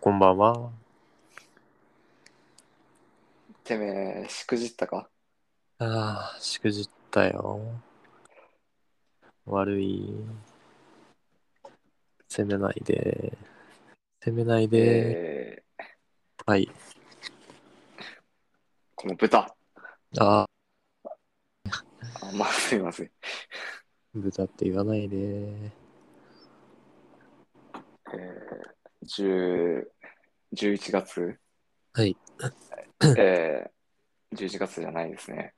こんばんは。てめえ、しくじったかああ、しくじったよ。悪い。責めないで。責めないで。えー、はい。この豚。ああ、あまあ、 すいません。豚って言わないで。えー、10 11月はい。えー、11月じゃないです ね。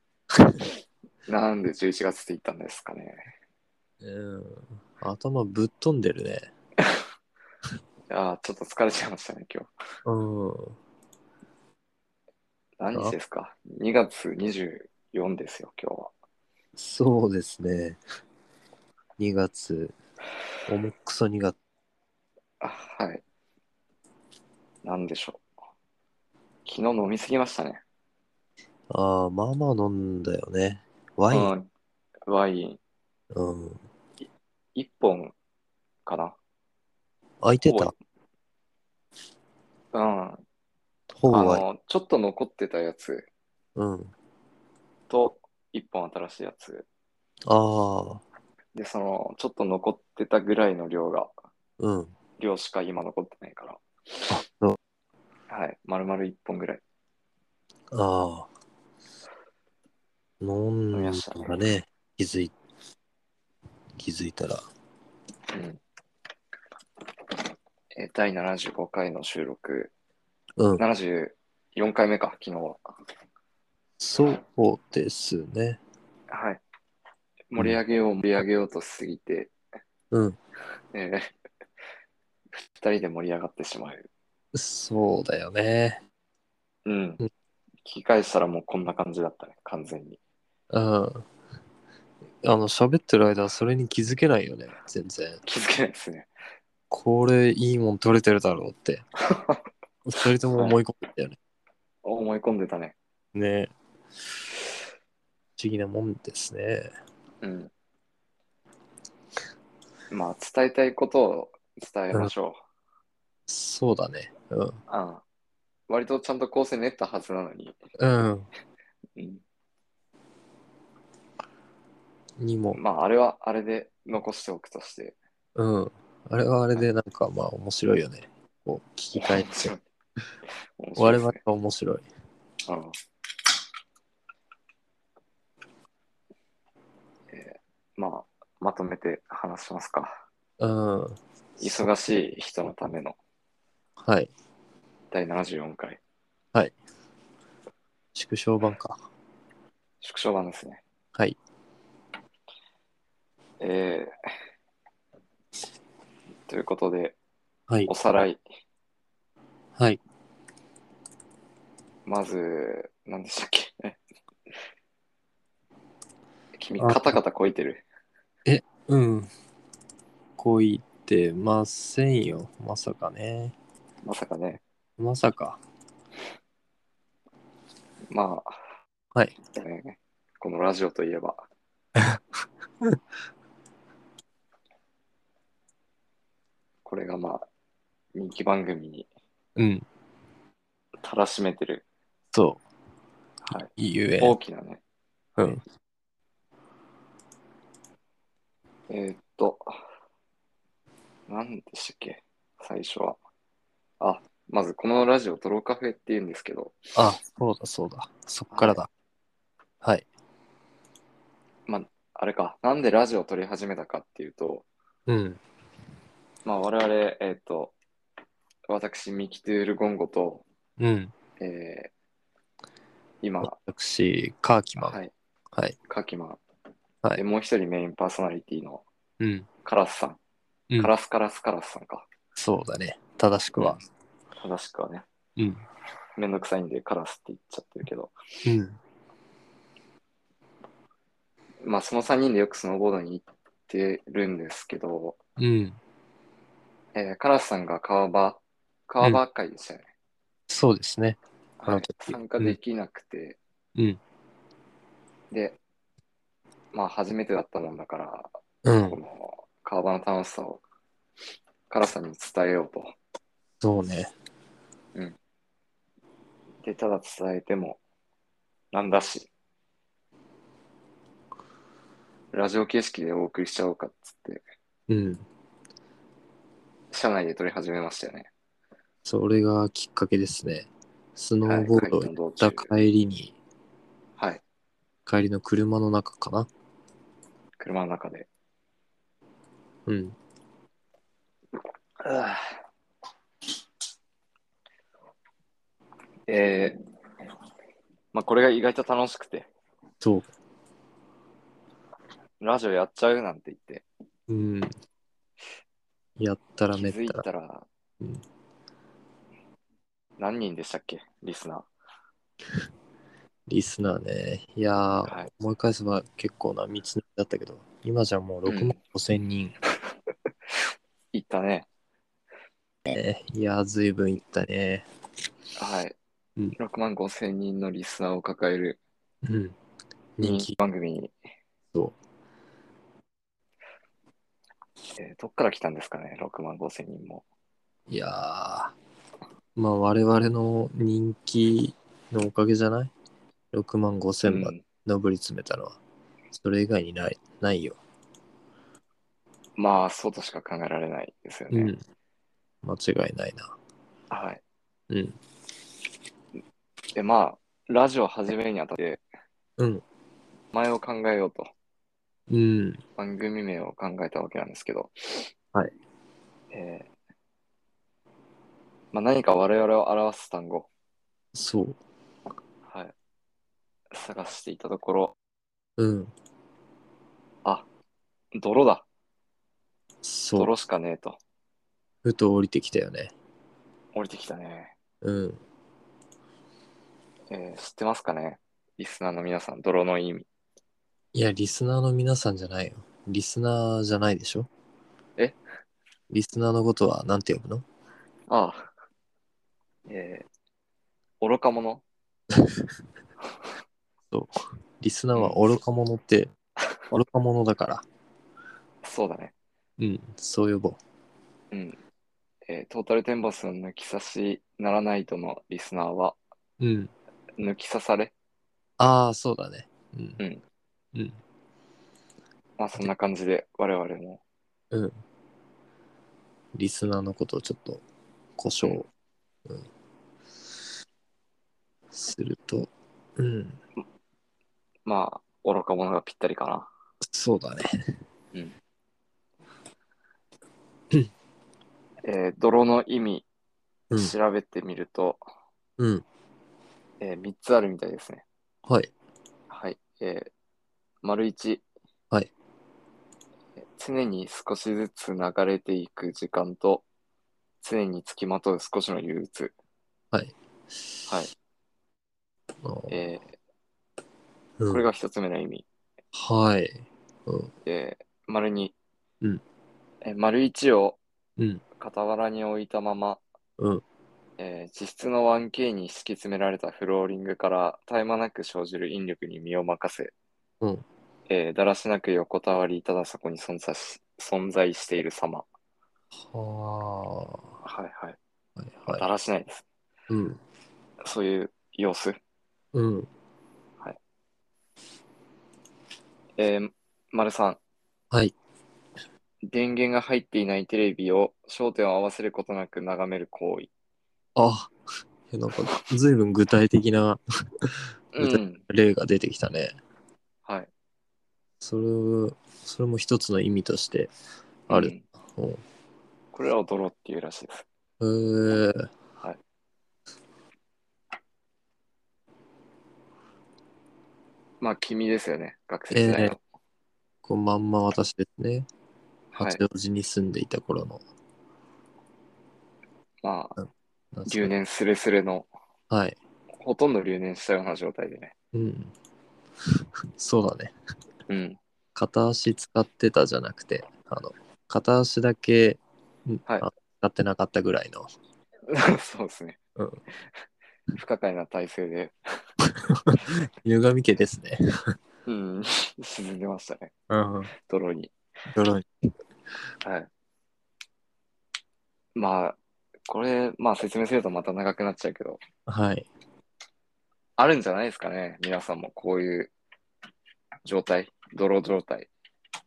なんで11月って言ったんですかね。うん。頭ぶっ飛んでるね。ああ、ちょっと疲れちゃいましたね、今日。うん。何日ですか ?2 月24ですよ、今日は。そうですね。2月。重くそ2月。あはい。なんでしょう。昨日飲みすぎましたね。ああ、まあまあ飲んだよね。ワイン。うんワイン。うん。 1本かな。空いてたうん。あほぼワイン。の、ちょっと残ってたやつうん。と、1本新しいやつ。ああ、で、その、ちょっと残ってたぐらいの量が、うん。量しか今残ってないから。そはい。丸々1本ぐらい。ああ。飲んだね。気づい、気づいたら。うん。えー第75回の収録、うん。 74回目か、昨日は。そうですね。はい。盛り上げよう、盛り上げようとしすぎて、うん。えー二人で盛り上がってしまう。そうだよね。うん。う聞き返したらもうこんな感じだったね、完全に。うん。あの、喋ってる間はそれに気づけないよね。全然。気づけないですね。これ、いいもん取れてるだろう って。二人とも思い込んだよね。思い込んでたね。ね不思議なもんですね。うん。まあ、伝えたいことを伝えましょそうだね。うん。う。うん。割とちゃんと構成練ったはずなのに。うん。うん。にも、まあ、あれはあれで残しておくとして。うん。あれはあれでなんかまあ面白いよね。こう聞き返っ面白てい。。面白い我です々ねは面白い。うんえーまあ、まとめて話しますか。うん。忙しい人のためのはい。第74回、縮小版か。縮小版ですね。はい。えーということで、はいお。さらい。はい。まず、何でしたっけ 君、カタカタこいてる。うん。こう言ってませんよ。まさかね。まさかね。まさか。まあ、はい。ねこのラジオといえば。 これがまあ、人気番組にうん。たらしめてるそはう。ゆえ。大きなね。うん。えーっと、何でしたっけ、最初は。あ、まずこのラジオ、ドローカフェって言うんですけど、あ、そうだそうだ。そっからだ。はい。あれか、なんでラジオを撮り始めたかっていうと、うん。まあ、我々、えーっと、私、ミキトゥール・ゴンゴと、うん。えー今、私、カーキマン。はい、はい。カキマン、はいでもう一人メインパーソナリティのうん。カラスさん、うんカラスカラスカラスさんか、そうだね。正しくは。正しくはね、うん。めんどくさいんでカラスって言っちゃってるけど、うん。まあ、その3人でよくスノーボードに行ってるんですけど、うん。えーカラスさんが川場、川場会でしたよね。そうですね。あはのい、時参加できなくて、うん。で、まあ、初めてだったもんだから、うんこ。の川場の楽しさをカラスさんに伝えようと。そうね。で、ただ伝えても、なんだし。ラジオ形式でお送りしちゃおうかっつって、うん。社内で撮り始めましたよね。それがきっかけですね。スノーボード行っ道た中。帰りに、はい。帰りの車の中かな。車の中で。うん。あーえー、まあこれが意外と楽しくて、そラジオやっちゃうなんて言って、う。うん。やったら気めっづいたら。たらうん、何人でしたっけリスナー。リスナーね。いやー、はい。思い返せば結構な道のりだったけど、今じゃもう6万5千人。行ったね。いやー、ずいぶんいったね。はい。うん6万5千人のリスナーを抱えるうん。人人気気番組に、そえーどっから来たんですかね、6万5千人も。う。いやー、まあ我々の人気のおかげじゃない ?6 万5千まうでん上り詰めたのは、それ以外にない、ないよ。まあ、そうとしか考えられないですよね。うん。間違いないな。はい。うん。で、まあ、ラジオ始めるにあたって、うん。名前を考えようと、うん。番組名を考えたわけなんですけど、はい。えーまあ、何か我々を表す単語、そう。はい。探していたところ、うん。あ、泥だ。そう。泥しかねえと。ふと降りてきたよね。降りてきたね。うん。えー知ってますかねリスナーの皆さん、泥の意味。いや、リスナーの皆さんじゃないよ。リスナーじゃないでしょえリスナーのことは何て呼ぶのああ。えー愚か者リスナーは愚か者って、愚か者だから。そうだね。うん、そう呼ぼう。うん。えートータルテンボスの抜き差しならないとのリスナーは、うん。抜き刺されああ、そうだね。うん。うん。うん。まあそんな感じで我々も、リスナーのことをちょっと故障、うん、すると、うん、まあ愚か者がぴったりかな。そうだね。えー泥の意味うん。調べてみると、うん。え3つあるみたいですね。はい。はい。えー丸1。はいえー。常に少しずつ流れていく時間と、常につきまとう少しの憂鬱。はい。あのえうーん、これが一つ目の意味。はい。うん。えー丸2。うんえー丸1をうん。傍らに置いたまま、うんえー実質の 1K に敷き詰められたフローリングから絶え間なく生じる引力に身を任せ、うんえーだらしなく横たわりただそこに存在し存在している様。ははいはい。あ。はいだはい。らしないです。うん。そういう様子。うん。えー、丸さん。はい。電源が入っていないテレビを焦点を合わせることなく眺める行為。あ、いやなんか、ずいぶん具体的なうん。例が出てきたね。はい。それを、それも一つの意味としてあうる。んうんこれらを泥っていうらしいです。えー、はい。まあ、君ですよね、学生時代の。こうまんま私ですね。はい八。王子に住んでいた頃の。まあ、なんですか留。年すれすれの、はい。ほとんど留年したような状態でね。うん。そうだね。うん。 片足使ってたじゃなくて、あの、片足だけ、うんはいあ使ってなかったぐらいの。そうですね。うん不可解な体勢で、犬神家ですね。うん、 沈んでましたね、うん。泥に。泥に。はい。まあ、これ、まあ説明するとまた長くなっちゃうけど、はい。あるんじゃないですかね。皆さんもこういう状態、泥状態。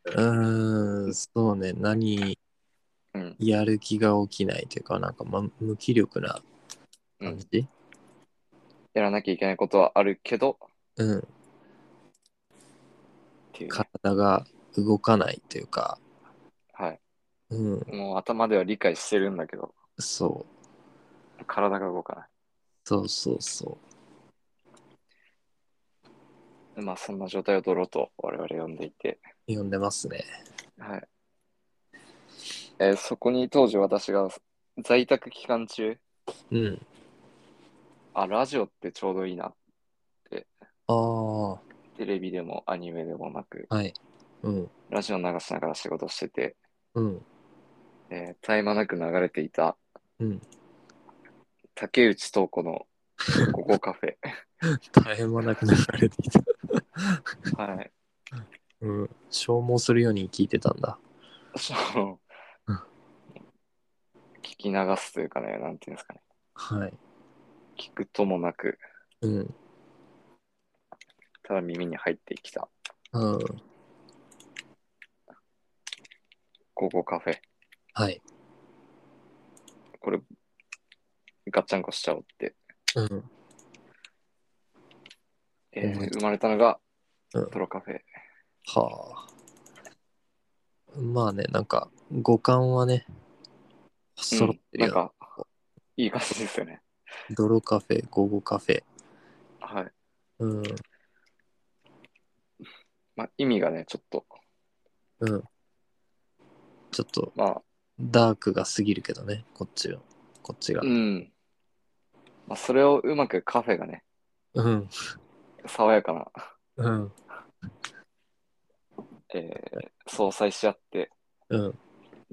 うーん、そうね。何、うん。やる気が起きないというか、なんか、ま、無気力なうん感。じ、やらなきゃいけないことはあるけど、うん、っていうね、体が動かないというか、はい。うん、もう頭では理解してるんだけど、そう、体が動かそうそうそない。まあ、そんな状態を泥と我々呼んでいて、う、呼んでますね。はい。えーそこに当時私が在宅期間中、うん。あ、ラジオってちょうどいいな。ああ、はテレビでもアニメでもない。く、うん、ラジオ流しながら仕事してて、うん、えー、絶え間なく流れていたうん。竹内東子のここカフ ェ。大変もなく流れてきた。はい。うん、消耗するように聞いてたんだ。そのうん聞き流すというかね、なんていうんですかね。はい。聞くともなく、うん、ただ耳に入ってきたうん、ここカフェ。はい。これ、ガッチャンコしちゃおうって。うん、えー思いつ生まれたのが、うんトロカフェ。はあ。まあね、なんか、五感はね、揃ってるなんよ、か、いい感じですよね。泥カフェ、午後カフェ。はい。うん、まあ、意味がね、ちょっと、うん。ちょっと、まあ、ダークが過ぎるけどね、こっちを。こっちがう。ん。まあ、それをうまくカフェがね、うん。爽やかうな、ん。えー、相殺し合って、うん。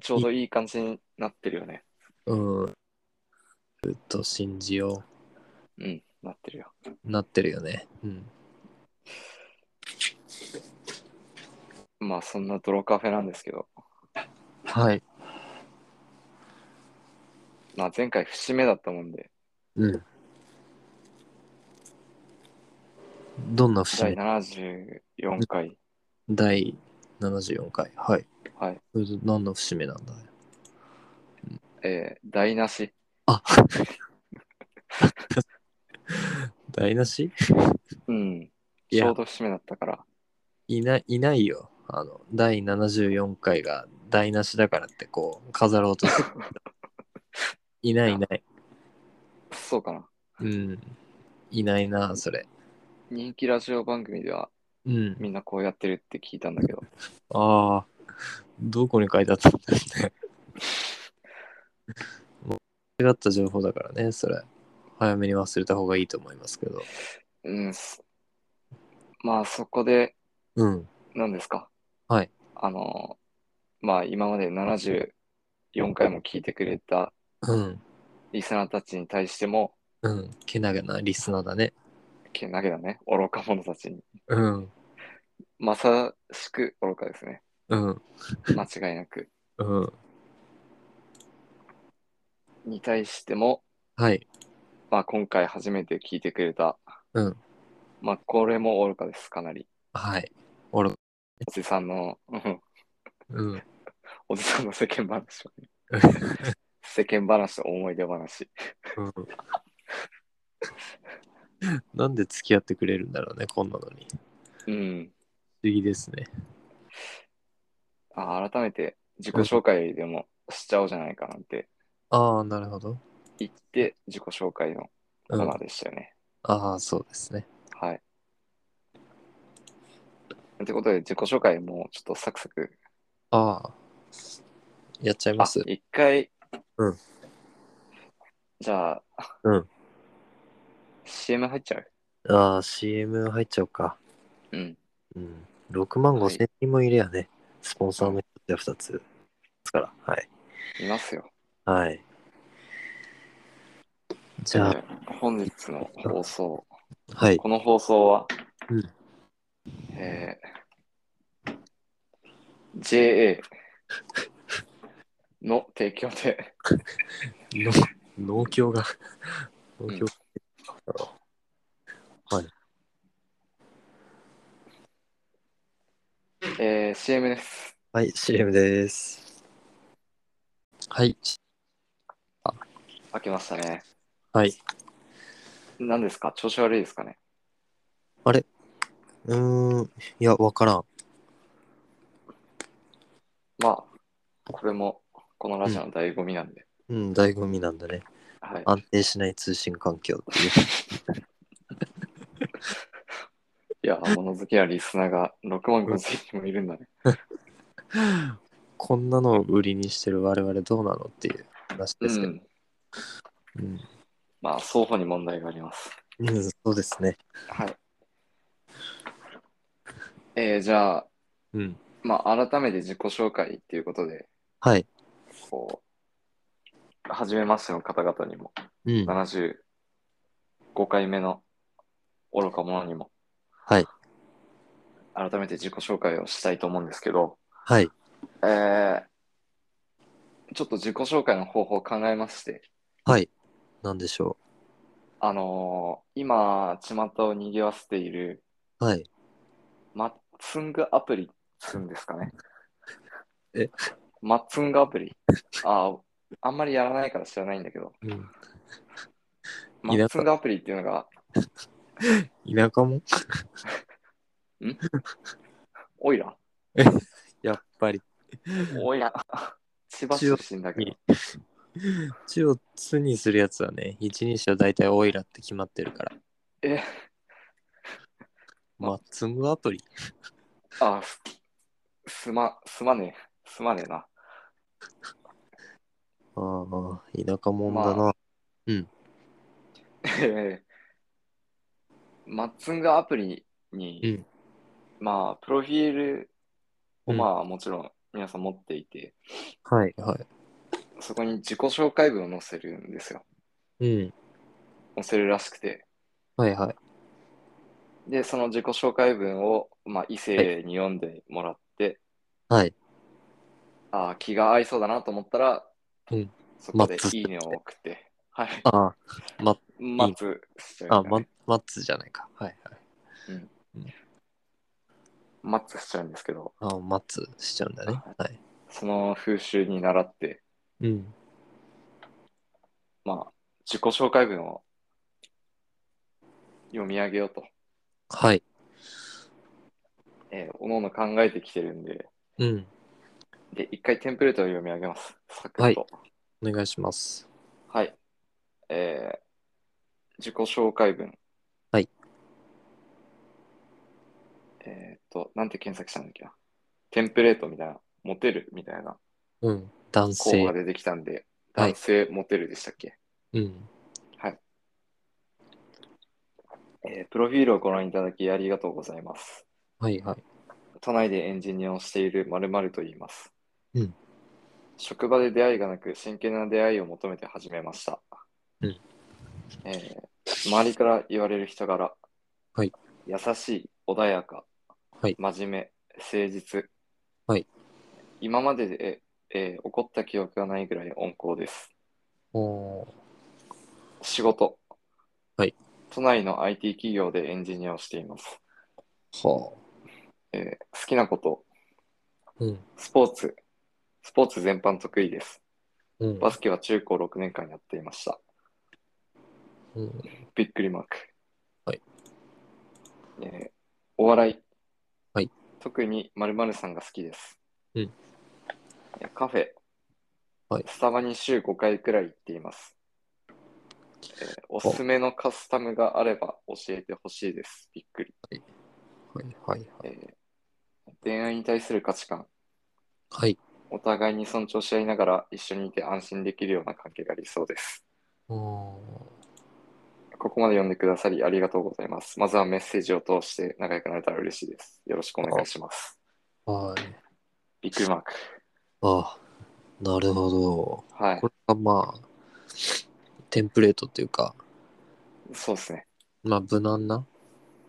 ちょうどいい感じになってるよね。うん。と信じようん、なってるよ。う。なってるよね。うん。まあ、そんなトロカフェなんですけど、はい。まあ、前回節目だったもんで、うん。どんな節第目74回、第74回。はい。はい、それと何の節目なんだえー、台無し、あ台無しうん、いちやょうど節目だったから、いない、いないよ。あの、第74回が台無しだからって、こう、飾ろうとす る。いないいない。そうかな。うん。いないな、それ。人気ラジオ番組ではうん。みんなこうやってるって聞いたんだけど、ああ、どこに書いてあったんだろうね。もう間違った情報だからね、それ。早めに忘れた方がいいと思いますけど。うん、すまあそこでうん。何ですかはい。あのまあ今まで74回も聞いてくれたうん。リスナーたちに対してもうん。けなげなリスナーだね。けなげだね愚か者たちにうん。まさしく愚かで すねうん。間違いなくうん。に対しても、はい。まあ、今回初めて聞いてくれた、うんまあこれも愚かですかなりはい。おろ、おじさんのうんうん。おじさんの世間話を ね世間話と思い出話うん。なんで付き合ってくれるんだろうね、こんなのに。不うん思議ですね。あ改めて自己紹介でもしちゃおうじゃないかなんてああ、なるほど。言って自己紹介のコうーん。ナあーでしたよね。あ、そうですね。はい。ってことで自己紹介もちょっとサクサク。ああ。やっちゃいあます。一回。うんじゃあ、うん。 CM 入っちゃうああ、CM 入っちゃおうか。うん。うん。6万5千人もいるやね。スポンサーも一つや二つですから。はい。いますよ。はい。じゃあ、えー本日の放送。 はい。この放送は、うんえー JA の提供で、農協が、農協、はいえー、CM です。はい、CM です。はい、開けましたね。はい。何ですか調子悪いですかねうーん、いや、わからん。まあ、これも、このラジオの醍醐味なんで。うん、醍醐味なんだね。はい。安定しない通信環境っていう。 いや、物好きなリスナーが6万5千人もいるんだね。こんなのを売りにしてる我々どうなのっていう話うですけど。ん。うん、まあ、双方に問題があります。うんそうですね。はい。えー、じゃあ、うん。まあ、改めて自己紹介っていうことで、はい。こう、初めましての方々にも、うん。 75回目の愚か者にも、はい。改めて自己紹介をしたいと思うんですけど、はい。えー、ちょっと自己紹介の方法を考えまして、はい。なんでしょあのー今、巷を賑わせているう。はい。マッツングアプリっつうんですかね。えマッツングアプリあーあんまりやらないから知らないんだけど、うん、マッツングアプリっていうのが田舎もオイラやっぱり。おいら、千葉出身だけど。地をつにするやつはね、一人称大体オイラって決まってるから。え、マッツングアプリあ、すすま、すまねえ、すまねえな。 ああ、田舎もんだな。まえーマッツングアプリに、うんまあ、プロフィールを、うんまあ、もちろん皆さん持っていて、はい。はい。そこに自己紹介文を載せるんですよ。うん。載せるらしくて。はいはい。で、その自己紹介文を、まあ、異性に読んでもらって、はい。あー気が合いそうだなと思ったら、うんそこでマッツいいねを送って、はい。ああ、待つしちゃうあ、みたいまな、マッツじゃないか。はいはい。待つしちゃうんですけど、あ、マッツしちゃうんだね。はい。その風習に倣って、うん。まあ、自己紹介文を読み上げようと、はい。えー、おのの考えてきてるんで、うん。で、一回テンプレートを読み上げます。サクはッいと。お願いします。はい。えー、自己紹介文。はい。えーっと、なんて検索したんだっけな。テンプレートみたいな、モテるみたいなうん。男候補が性。出てきたんで、はい男性モテるでしたっけ、うん。えープロフィールをご覧いただきありがとうございます。はいはい。都内でエンジニアをしている〇〇と言います。うん職場で出会いがなく、真剣な出会いを求めて始めました。うんえー周りから言われる人柄、はい優しい、穏やか、はい真面目、誠実、はい今までで、えー怒った記憶がないぐらい温厚です。おー仕事、はい都内の IT 企業でエンジニアをしています。はえー好きなこと、あ。うん。スポーツ、スポーツ全般得意です。うん。バスケは中高6年間やっていました。うん、びっくりマーク。はい。えーお笑い。はい。特に〇〇さんが好きです。うんえー。カフェ。はいスタバに週5回くらい行っています。えーおすすめのカスタムがあれば教えてほしいです。びっくり。はいはいはい。えー恋愛に対する価値観。はい。お互いに尊重し合いながら一緒にいて安心できるような関係が理想です。おーここまで読んでくださりありがとうございます。まずはメッセージを通して仲良くなれたら嬉しいです。よろしくお願いします。はい。びっくりマーク。ああ。なるほど。はいこ。れがまあ、テンプレートっていうか、そうですね。まあ、無難な、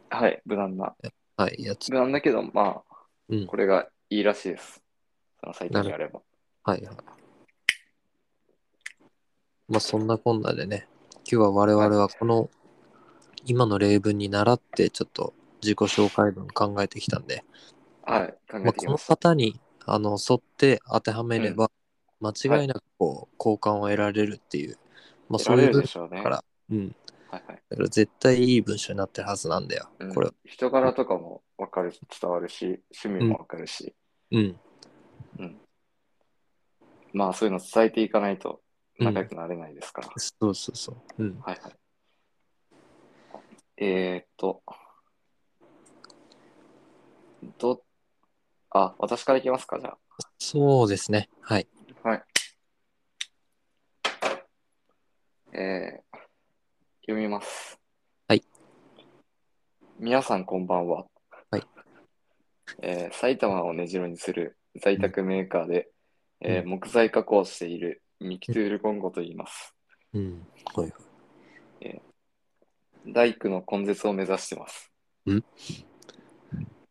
はい。無難な。はい、やつ。無難だけど、まあ、うん。これがいいらしいです。そのサイトにあれば。はいはい。まあそんなこんなでね、今日は我々はこの今の例文に習って、ちょっと自己紹介文考えてきたんで、はい、ま考えあ、てこきまのした。型にあの沿って当てはめれば、間違いなくこう、好感を得られるっていう、まあ、得そらうれいうる文でしょうね。だから、うん。はいはいだから絶対いい文章になってるはずなんだよ。うんこれ、人柄とかも分かるし、伝わるし、趣味も分かるし、うん。まあそういうの伝えていかないとうん仲良くなれないですから。そうそうそう。うん。はいはい。えー、っと、ど、あ、私からいきますか、じゃそうですね。はい。あ。はい。えー、読みます。はい。皆さん、こんばんは。はい。えー、埼玉を根城にする在宅メーカーで、うんえー木材加工をしているミキトゥールコンゴと言います。うん。はいはい。大工の根絶を目指してます。ん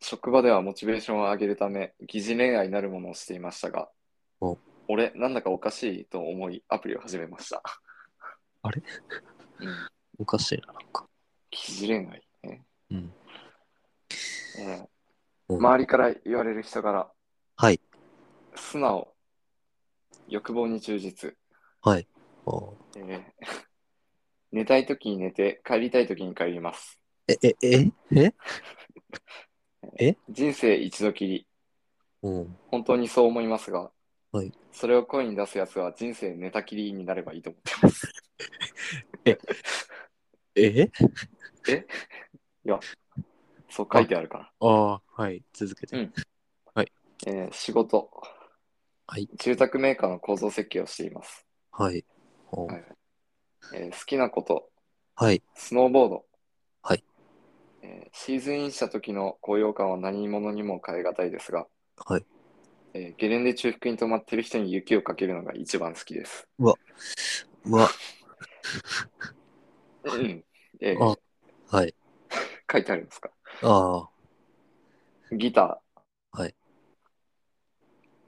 職場ではモチベーションを上げるため疑似恋愛なるものをしていましたがお俺なんだかおかしいと思いアプリを始めました あれ、 うん、おかしいな、なんか。疑似恋愛、ねうん。えうーん周りから言われる人からはい。素直欲望に忠実、はい。おーえー 寝たい時に寝て帰りたい時に帰りますえ、え、え、え人生一度きりうん。本当にそう思いますが、はいそれを声に出すやつは人生寝たきりになればいいと思ってます。えそう書いてあるかああ、はい。続けて。うんら。えー仕事、はい住宅メーカーの構造設計をしています、はい。おーはいえー好きなこと、はい。スノーボード。はいえーシーズンインした時の高揚感は何者にも変え難いですが、はい。えーゲレンデ中腹に止まってる人に雪をかけるのが一番好きです。うわ、うんえーあはい。書いてありますかああ、ギター。はい。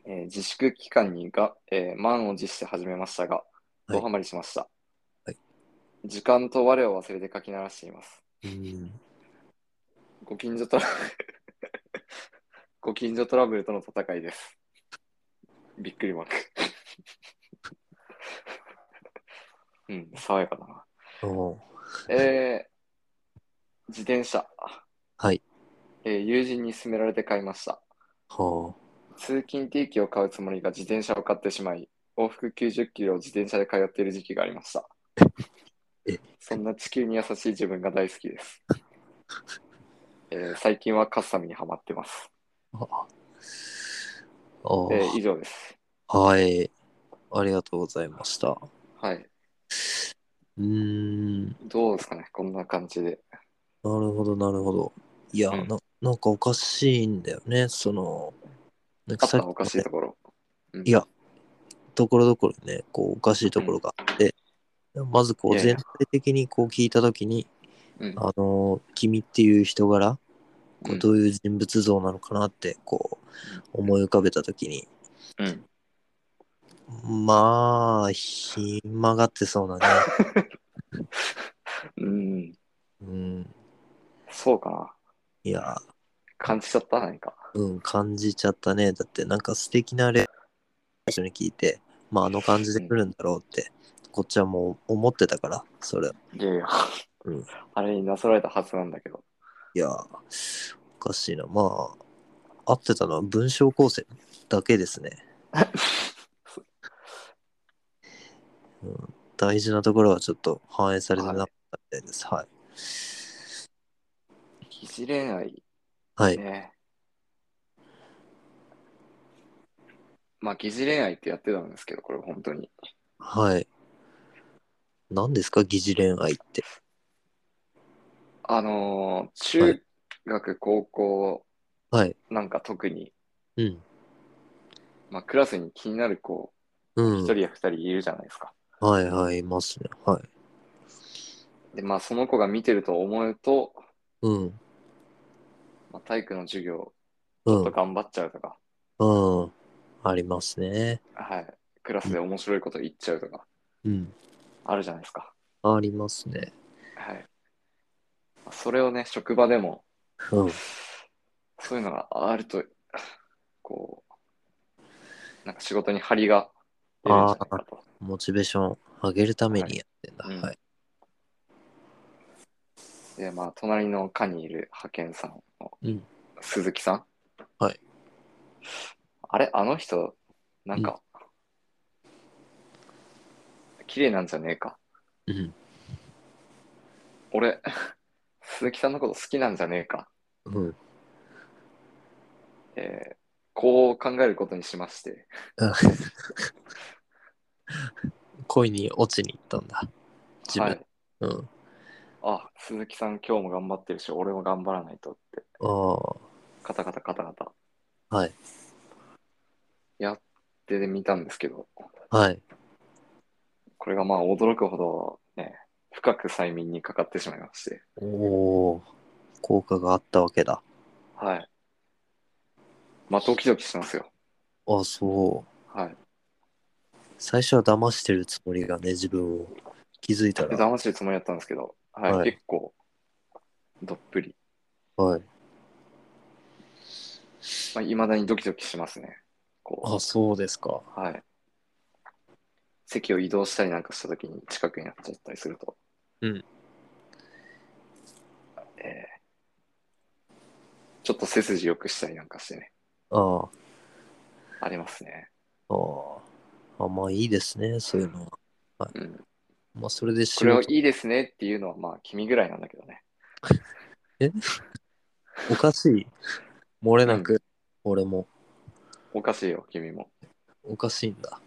えー自粛期間にが、えー満を持して始めましたが、いドハマりしました。はい時間と我を忘れて書き鳴らしています。うん。ご近所トラブル ご近所トラブルとの戦いです。びっくりマーク。 うん、爽やかだな。おーえー自転車、はい。えー友人に勧められて買いました。は通勤定期を買うつもりが自転車を買ってしまい、往復90キロを自転車で通っている時期がありました え。そんな地球に優しい自分が大好きです。えー最近はカッサムにはまってます。あ。ああー。えー以上です。はい。ありがとうございました。うはい。ーん。なるどうですかねこんな感じで。ほど、なるほど。いや、うんな、なんかおかしいんだよね。その、なんあかっさたっきおかしいところ。いや、ところどころね、こう、おかしいところがあって、まずこ、いうやいや全体的にこう聞いたときに、うん。あのー君っていう人柄、こううんどういう人物像なのかなって、こう、思い浮かべたときに、うん。まあ、ひん曲がってそう なね。うん。うん。そうかな。いや、感じちゃった何か。うん、感じちゃったね。だってなんか素敵な例一緒に聞いて、まああの感じで来るんだろうって、こっちはもう思ってたから、それ。いやいや。うんあれになぞられたはずなんだけど。いや、おかしいな。まあ、合ってたのは文章構成だけです ね。うん、大事なところはちょっと反映されてなかったみたいです。はい。疑似恋愛はい。ねまあ疑似恋愛ってやってたんですけどこれ本当にはい。何ですか、疑似恋愛って。あのーは中い学高校はい。なんか特に、うん。まあ、クラスに気になる子う1ん。人や2人いるじゃないですか、はいはい、いますね。はい。でまあその子が見てると思うと、うん。まあ、体育の授業うとん。頑張っちゃうとか、うん。ありますね。はいクラスで面白いこと言っちゃうとかうん。あるじゃないですかありますね。はいそれをね、職場でも、うん。そういうのがあると、こう、なんか仕事に張りが出るんじゃないかと。モチベーション上げるためにやってんだ。はいうんはい。で、まあ、隣の課にいる派遣さんの、うん鈴木さん。はい。あれ、あの人、なんか、綺麗なんじゃねえか。うん。俺、鈴木さんのこと好きなんじゃねえか。うん。えーこう考えることにしまして、恋に落ちに行ったんだ。自分。はい、うん。あ鈴木さん、今日も頑張ってるし、俺も頑張らないとって、あカタカタカタカタあ。はい。やってみたんですけど、はい。これがまあ驚くほど、ね、深く催眠にかかってしまいまして、おお。効果があったわけだ。はい。まあ、ドキドキしますよ。あそう。はい。最初は騙してるつもりがね、自分を。気づいたでら。騙してるつもりだったんですけど、はい、はい結構、どっぷり。はい。まあ、未だにドキドキしますね。こあ、そうですか。う、はい。席を移動したりなんかした時に近くになっちゃったりすると。うん。えーちょっと背筋良くしたりなんかしてね。ああ。ありますね。ああ。あまあいいですね、そういうのは。うん。まあそれでこ仕れを事いいですねっていうのは、まあ、君ぐらいなんだけどね。おかしい。漏れなく、俺もおかしいよ、君も。おかしいんだ。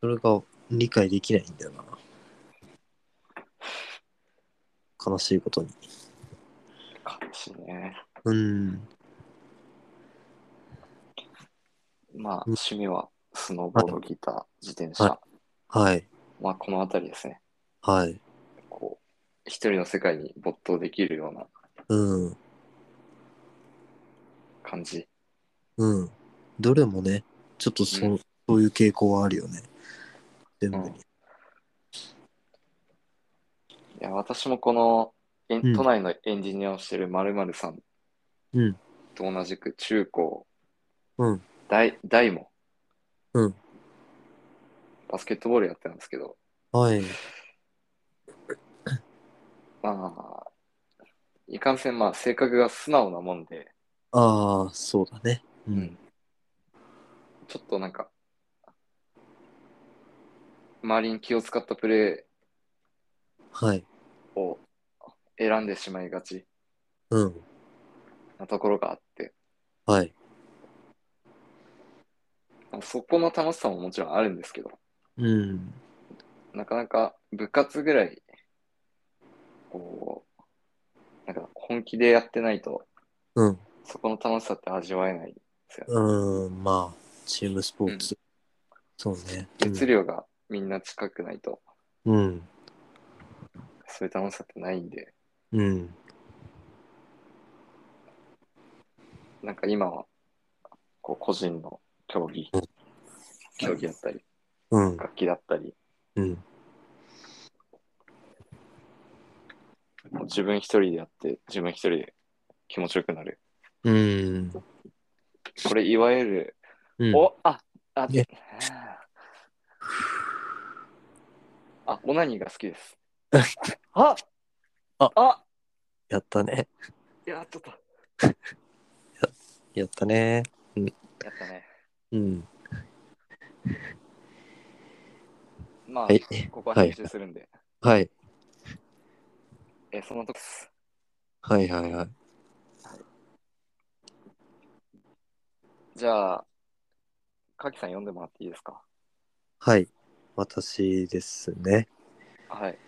それが理解できないんだよな。悲しいことに。悲しいね。うん。まあ、うん趣味は、スノーボード、ギター、自転車。ははい。まあ、このあたりですね。はい。こう、一人の世界に没頭できるようなうん。感じ。うん。どれもね、ちょっとそ,、ううんそういう傾向はあるよね。全部に。いや、私もこの、えんうん都内のエンジニアをしてる〇〇さんうん。と同じく中高、うん。大、大も、うん。バスケットボールやってたんですけど、はい。まあ、いかんせん、まあ、性格が素直なもんで、ああ、そうだね。ううんん。ちょっとなんか、周りに気を使ったプレはい。ーを選んでしまいがちうん。なところがあって、はい。まあそこの楽しさももちろんあるんですけど、うん。なかなか部活ぐらい、こう、なんか本気でやってないと、うん。そこの楽しさって味わえないんですよね。うん、まあ、チームスポーツ。そうね。熱量がみんな近くないと、うん。そういう楽しさってないんで、うん。なんか今は、こう個人の競技うん、競技だったり、うん。楽器だったり、うん。もう自分一人でやって、自分一人で気持ちよくなる。うん。これ、いわゆる、うん、おああいやあ、オナニーが好き です。あああやったね。やっちょっと。やったね。やったね。うん。まあ、はいここは編集するんで、はい。えそのとこです。はいはいはい。じゃあ、かきさん読んでもらっていいですかはい。私ですね。はい。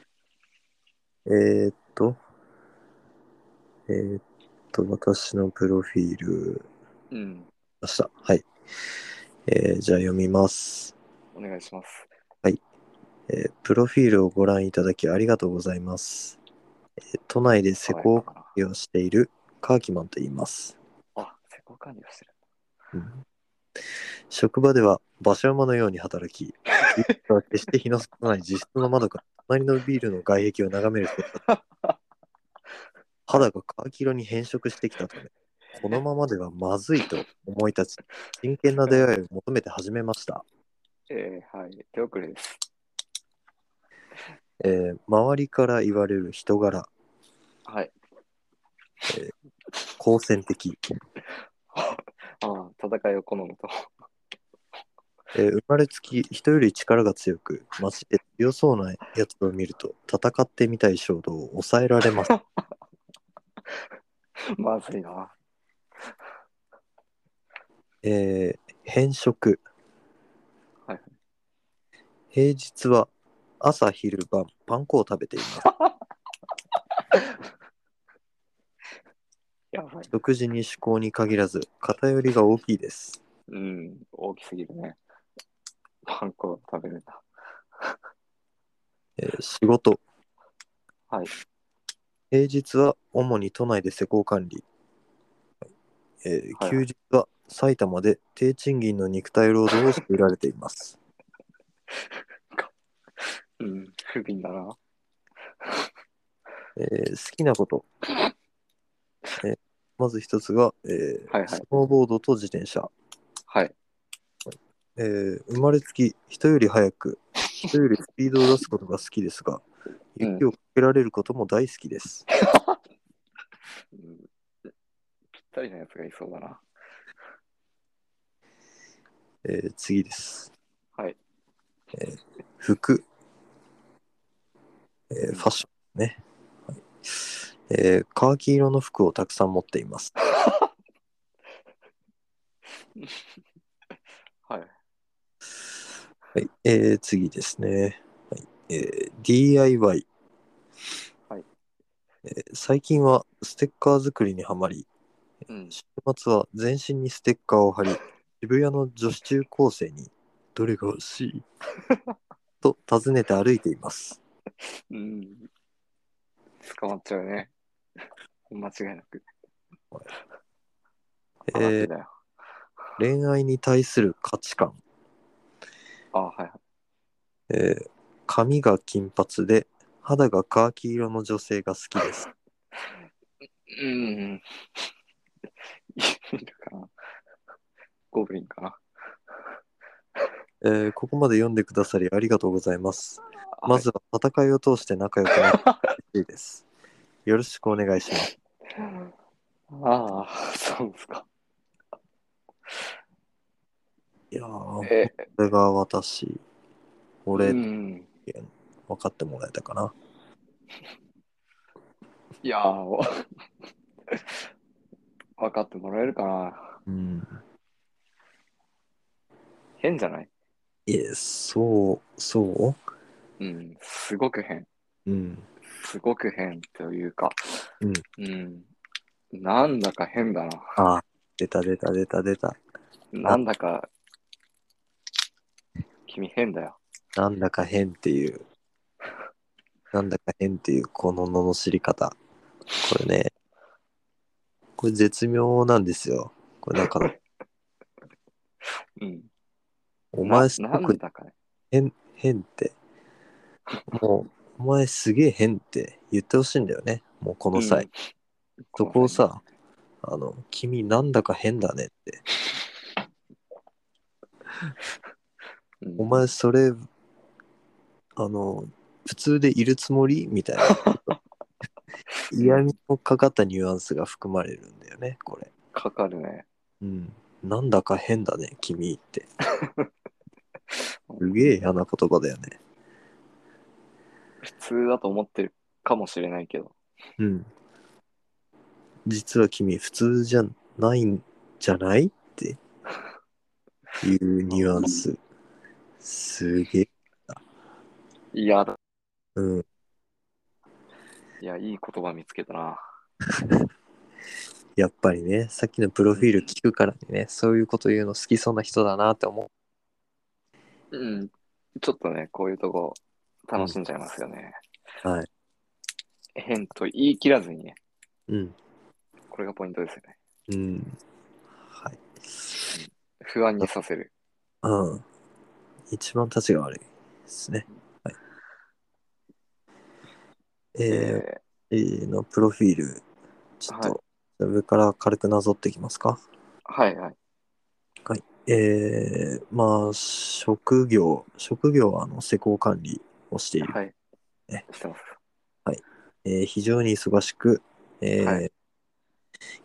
えー、っと。えー、っと、私のプロフィールうん、ました。はい。えー、じゃあ読みます。お願いします。えープロフィールをご覧いただきありがとうございます。えー都内で施工か管理をしているカーキマンと言います。あ、施工管理をしてる。うん職場では馬車馬のように働き、ビールは決して日の差さない自室の窓から隣のビールの外壁を眺める人たち肌がカキ色に変色してきたため、このままではまずいと思い立ち、真剣な出会いを求めて始めました。えー、はい。手遅れです。えー周りから言われる人柄、はい。好戦的、ああ、戦いを好むと。 えー生まれつき人より力が強く、街で強そうなやつを見ると、戦ってみたい衝動を抑えられます。まずいな。えー偏食、はい平日は朝昼晩パン粉を食べてい ますやばい。独自に趣向に限らず偏りが大きいですうん。大きすぎるね。パン粉を食べるんだ。えー仕事はい。平日は主に都内で施工管理、えーはい休日は埼玉で低賃金の肉体労働をしていられていますうん。不憫だな。えー好きなこと。えーまず一つが、えーはいはいスノーボードと自転車、はい。えー生まれつき人より速く、人よりスピードを出すことが好きですが、うん雪をかけられることも大好きです。うん、ぴったりなやつがいそうだな。えー次です。はい。えー服、えーファッションね。はいえー、カーキ色の服をたくさん持っています。はい。はい、えー次ですね。はいえー DIY、はいえー最近はステッカー作りにはまり、うん。週末は全身にステッカーを貼り、渋谷の女子中高生に、どれが欲しいと尋ねて歩いています。うん。捕まっちゃうね。 間違いなく。え話ーだよ。恋愛に対する価値観、あ、はいはい。えー髪が金髪で、肌がカーキ色の女性が好きです。うん。いるかな。ゴブリンかな。えーここまで読んでくださりありがとうございます。あまずは戦いを通して仲良くなってほしいです。よろしくお願いします。ああ、そうですか。いやー、こえれが私、こ俺、うん、分かってもらえたかな。いやー、 分かってもらえるかな。うん。変じゃないいえ、そう、そうん、すごく変。ううん。すごく変というか、うんうん。なんだか変だな。あ、出た出た出た出た。なんだか、君変だよ。なんだか変っていう、なんだか変っていう、この罵り方。これね、これ絶妙なんですよ。これだ から、うん。お前すなごなくんだかね。変、変って。もう、お前すげえ変って言ってほしいんだよね。もうこの際。うんそこを、さ、あの、君なんだか変だねって。うんお前それ、あの、普通でいるつもりみたいな。嫌味のかかったニュアンスが含まれるんだよね、これ。かかるね。うん。なんだか変だね、君って。すげえ嫌な言葉だよね。普通だと思ってるかもしれないけど。うん。実は君、普通じゃないんじゃないっていうニュアンス。すげえ。いや、うん。いや、いい言葉見つけたな。やっぱりね、さっきのプロフィール聞くからにね、そういうこと言うの好きそうな人だなって思う。うん、ちょっとね、こういうとこ楽しんじゃいますよね。はい。変と言い切らずにね、うん。これがポイントですよね。うん。はい。不安にさせる。うん。一番立ちが悪いですね。はい。えー、えーのプロフィールちょっと、上から軽くなぞっていきますか。はいはい。えー、まあ、職業、職業はあの施工管理をしている。はい。えしてます。えー非常に忙しく、えーは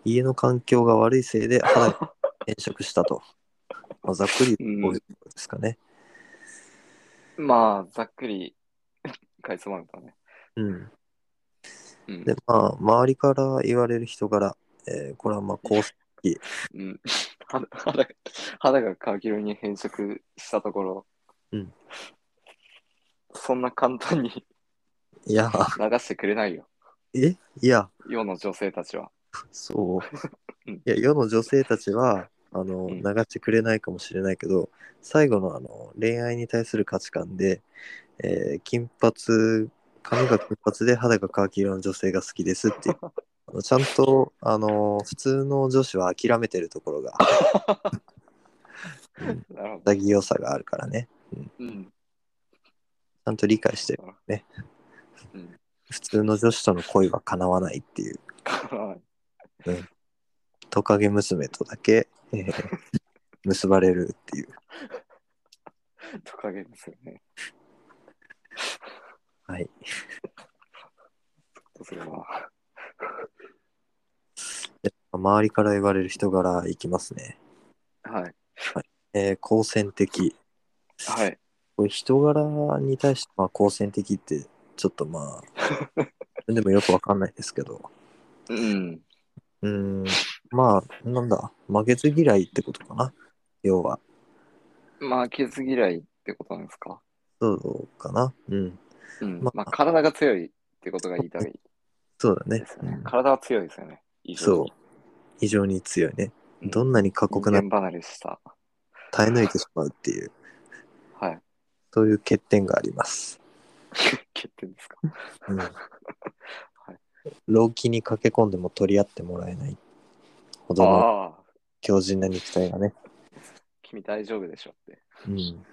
家の環境が悪いせいで肌に変色したと。 まあ、ざっくりこういうことですかね。まあ、ざっくり、かいつまむとね。うん、うんで、まあ、周りから言われる人柄、えーこれはまあ、こううん、 肌肌が肌が柿色に変色したところ、うん、そんな簡単にいや、 流してくれないよ、えいや、世の女性たちは。そう。 うんいや、世の女性たちは、あの、うん流してくれないかもしれないけど、最後のあの恋愛に対する価値観で、えー金髪、髪が金髪で肌がカーキ色の女性が好きですって いう。あのちゃんと、あの、普通の女子は諦めてるところが、なるほど。肌着良さがあるからね。うん、 ちゃんと理解してるね。うん普通の女子との恋は叶わないっていう。はいトカゲ娘とだけ、えー結ばれるっていう。トカゲですよね。はい。それは。周りから言われる人柄いきますね。はい。えー、好戦的。はい。これ人柄に対して、まあ、好戦的って、ちょっとま あ、でもよくわかんないですけど。うん。うーん、まあ、なんだ、負けず嫌いってことかな。要は、まあ、傷嫌いってことなんですか。そうかな。うん、うん。ままああ、体が強いってことが言いたいそうだねです。ようねん。体は強いですよね。以上そう。。非常に強いね。うんどんなに過人酷な間離れした。耐え抜いてしまうっていう、はい。そういう欠点があります。欠点ですか。 うん。老気に駆け込んでも取り合ってもらえないほどのああ、強靭な肉体がね。君大丈夫でしょって。うん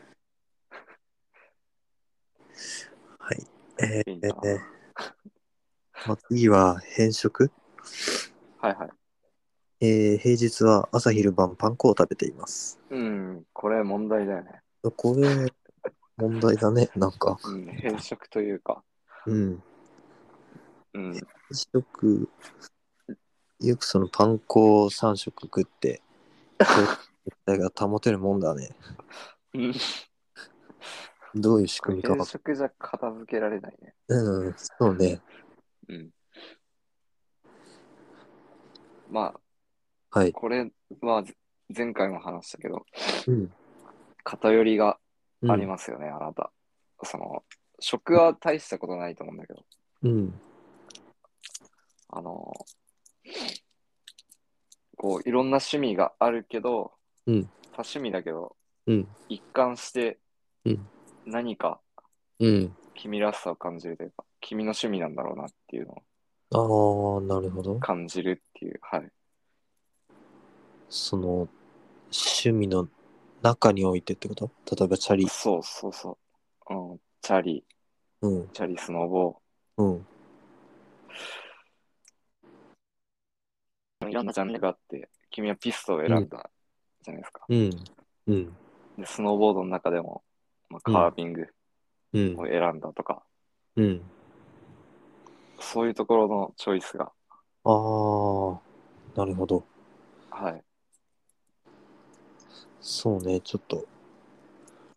はい。えいいー、なえーまあ、次は偏食、はいはい。えー平日は朝昼晩パン粉を食べています。うん、これ問題だよね。これ、問題だね、なんか。うん、変色というか。うん。うん、よく、よくそのパン粉を3食食って、肉体が保てるもんだね。うんどういう仕組みか変わか色じゃ片付けられないね。うん、そうね。うん。まあ、はい。これはぜ前回も話したけど、うん。偏りがうんありますよね、あなた。その、食は大したことないと思うんだけど、うん。あの、こう、いろんな趣味があるけど、うん多趣味だけど、うん。一貫してうん何かうん。君らしさを感じるというか、君の趣味なんだろうなっていうのをああ、なるほど。感じるっていう、はい。その趣味の中においてってこと例えばチャリそうそうそう。うん、チャリ、うんチャリスノボうんー、いろんなジャンルがあって、君はピストを選んだじゃないですか。うんうんで、スノーボードの中でも、まあ、カービングうんを選んだとか、うんそういうところのチョイスが、ああなるほどはい。そうねちょっと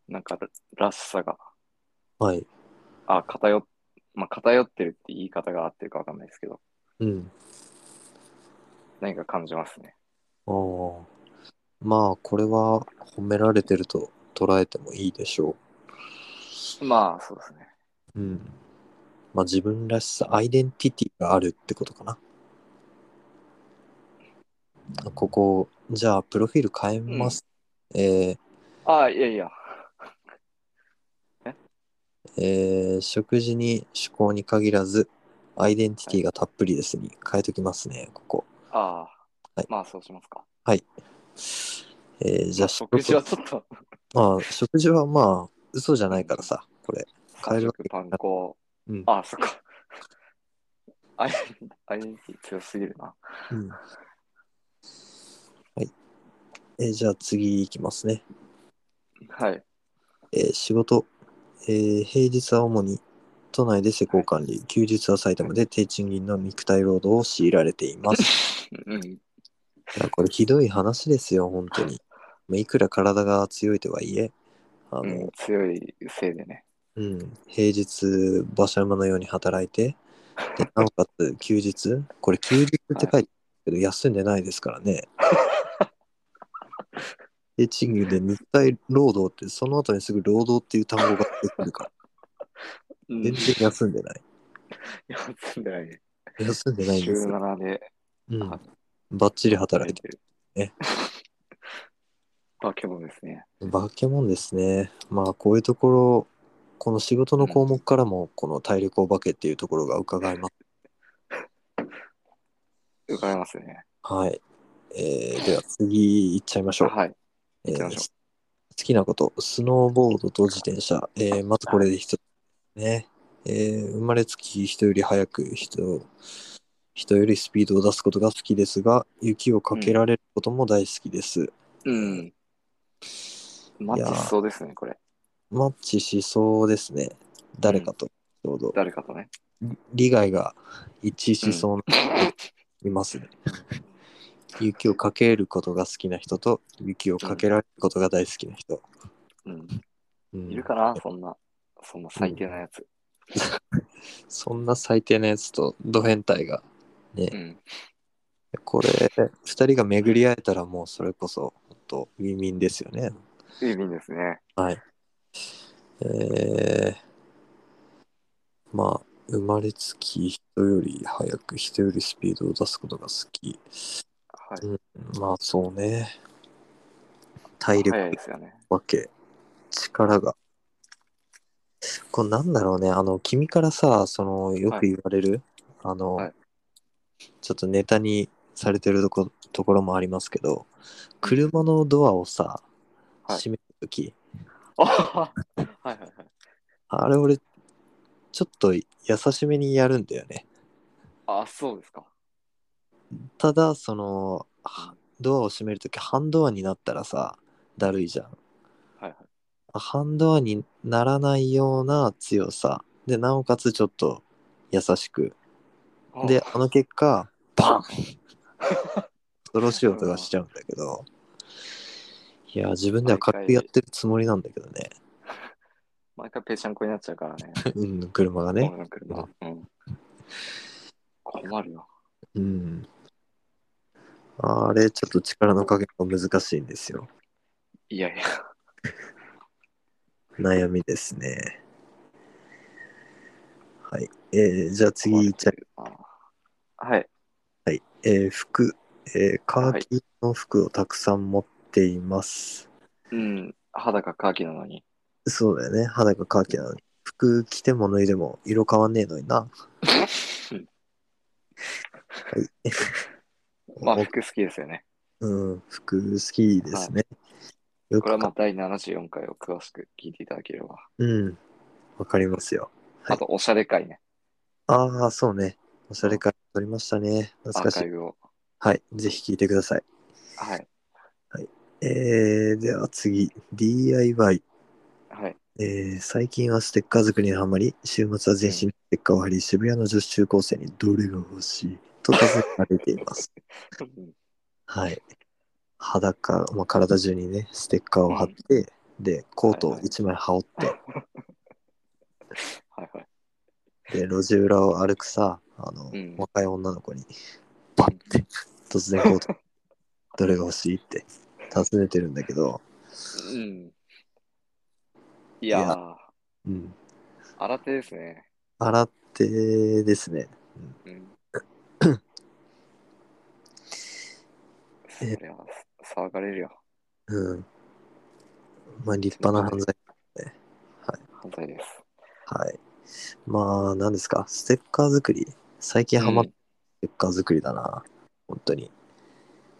なんか、らしさが、はいあ、偏っ、まあ、偏ってるって言い方が合ってるかわかんないですけど、うん何か感じますね。ああまあこれは褒められてると捉えてもいいでしょまあ、そうですね。ううんまあ自分らしさアイデンティティがあるってことかなあここじゃあプロフィール変えます、えー、あ、いやいや。えー食事に趣向に限らず、アイデンティティがたっぷりですに変えときますね、ここ。ああ、はいまあそうしますか。えーじゃあ、食事はちょっと、まあ、食事はまあ、嘘じゃないからさ、これ。変えるわけパン粉、うんああ、そっか。アイアイデンティティ強すぎるな。うんはい。えーじゃあ次いきますね。はい。えー仕事、えー平日は主に都内で施工管理、休日は埼玉で低賃金の肉体労働を強いられてい ます。うん。いやこれひどい話ですよ、本当に。まあいくら体が強いとはいえ、あの、うん、強いせいでね。うん、平日馬車馬のように働いてでなおかつ休日これ休日って書いてあるけど、休んでないですからね で賃金で肉体労働ってその後にすぐ労働っていう単語が出てくるからうん全然休んでない休んでないね。休んでないん週ですよ、 7でうんはい、バッチリ働いて る。ね。化け物ですね。バケモンですねまあこういうところこの仕事の項目からもこの体力お化けっていうところが伺えます伺かれますね。はい、えーでは次いっちゃいましょうはい。え行きーましょ好きなこと、スノーボードと自転車。えーまずこれで一つね。えー生まれつき人より速く人、人よりスピードを出すことが好きですが、雪をかけられることも大好きです。う。うん。マッチしそうですね、これ。マッチしそうですね。誰かと、ちょうど。誰かとね。利害が一致しそうな人いますね。雪をかけることが好きな人と、雪をかけられることが大好きな人。うん。うんいるかな、そんな、そんな最低なやつ。そんな最低なやつと、ド変態が。ねう、ん。これ、二人が巡り会えたらもうそれこそ、本当ウィンウィンですよね。いい便ですね。はい。えー、まあ、生まれつき人より早く人よりスピードを出すことが好き。はまあ、そうね。体い。力早いですよね。わけ。力が。これなんだろうね。あの、君からさ、その、よく言われる、あの、はいちょっとネタにされてるとこところもありますけど、車のドアをさ、はい閉めるとき、あはいはいはい。あれ俺、ちょっと優しめにやるんだよね。あ、そうですか。ただ、その、はドアを閉めるとき、半ドアになったらさ、だるいじゃん。はいはい。半ドアにならないような強さでなおかつちょっと優しくあであの結果 バン恐ろしい音がしちゃうんだけどいや自分では軽くやってるつもりなんだけど ね、毎回ぺちゃんこになっちゃうからね。うん、車がね俺の車。うん。困るよ。うんあれちょっと力の加減が難しいんですよいやいや。悩みですねはいえー、じゃあ次いっちゃいあはい。えー服、えーカーキの服をたくさん持っています。うん。肌がカーキなのに。そうだよね。肌がカーキなのに。服着ても脱いでも色変わんねえのにな。まあ、お服好きですよね。うん、服好きですね。よこれはくまあか、第74回を詳しく聞いていただければ。うん、わかりますよ。はいあと、おしゃれ会ね。ああ、そうね。おしゃれ会撮りましたね。ア懐かーしカい。イブを。はい、ぜひ聞いてください。はい。えー、では次、DIY。はい。えー最近はステッカー作りにハマり、週末は全身にステッカーを貼り、渋谷の女子中高生にどれが欲しいと尋ねられてい ます。うんはい。裸、まあ、体中にね、ステッカーを貼って、で、コートを1枚羽織って、はいはい。で、路地裏を歩くさ、あの、うん若い女の子に、バッて、突然コート、 どれが欲しいって尋ねてるんだけど、うん。いやいー、うん。新手ですね。洗ってですね、うん。そりゃ、騒がれるよ。うん。まあ、立派な犯罪反対です。はい。まあ、何ですか、ステッカー作り。最近ハマっうたんステッカー作りだな、本当に。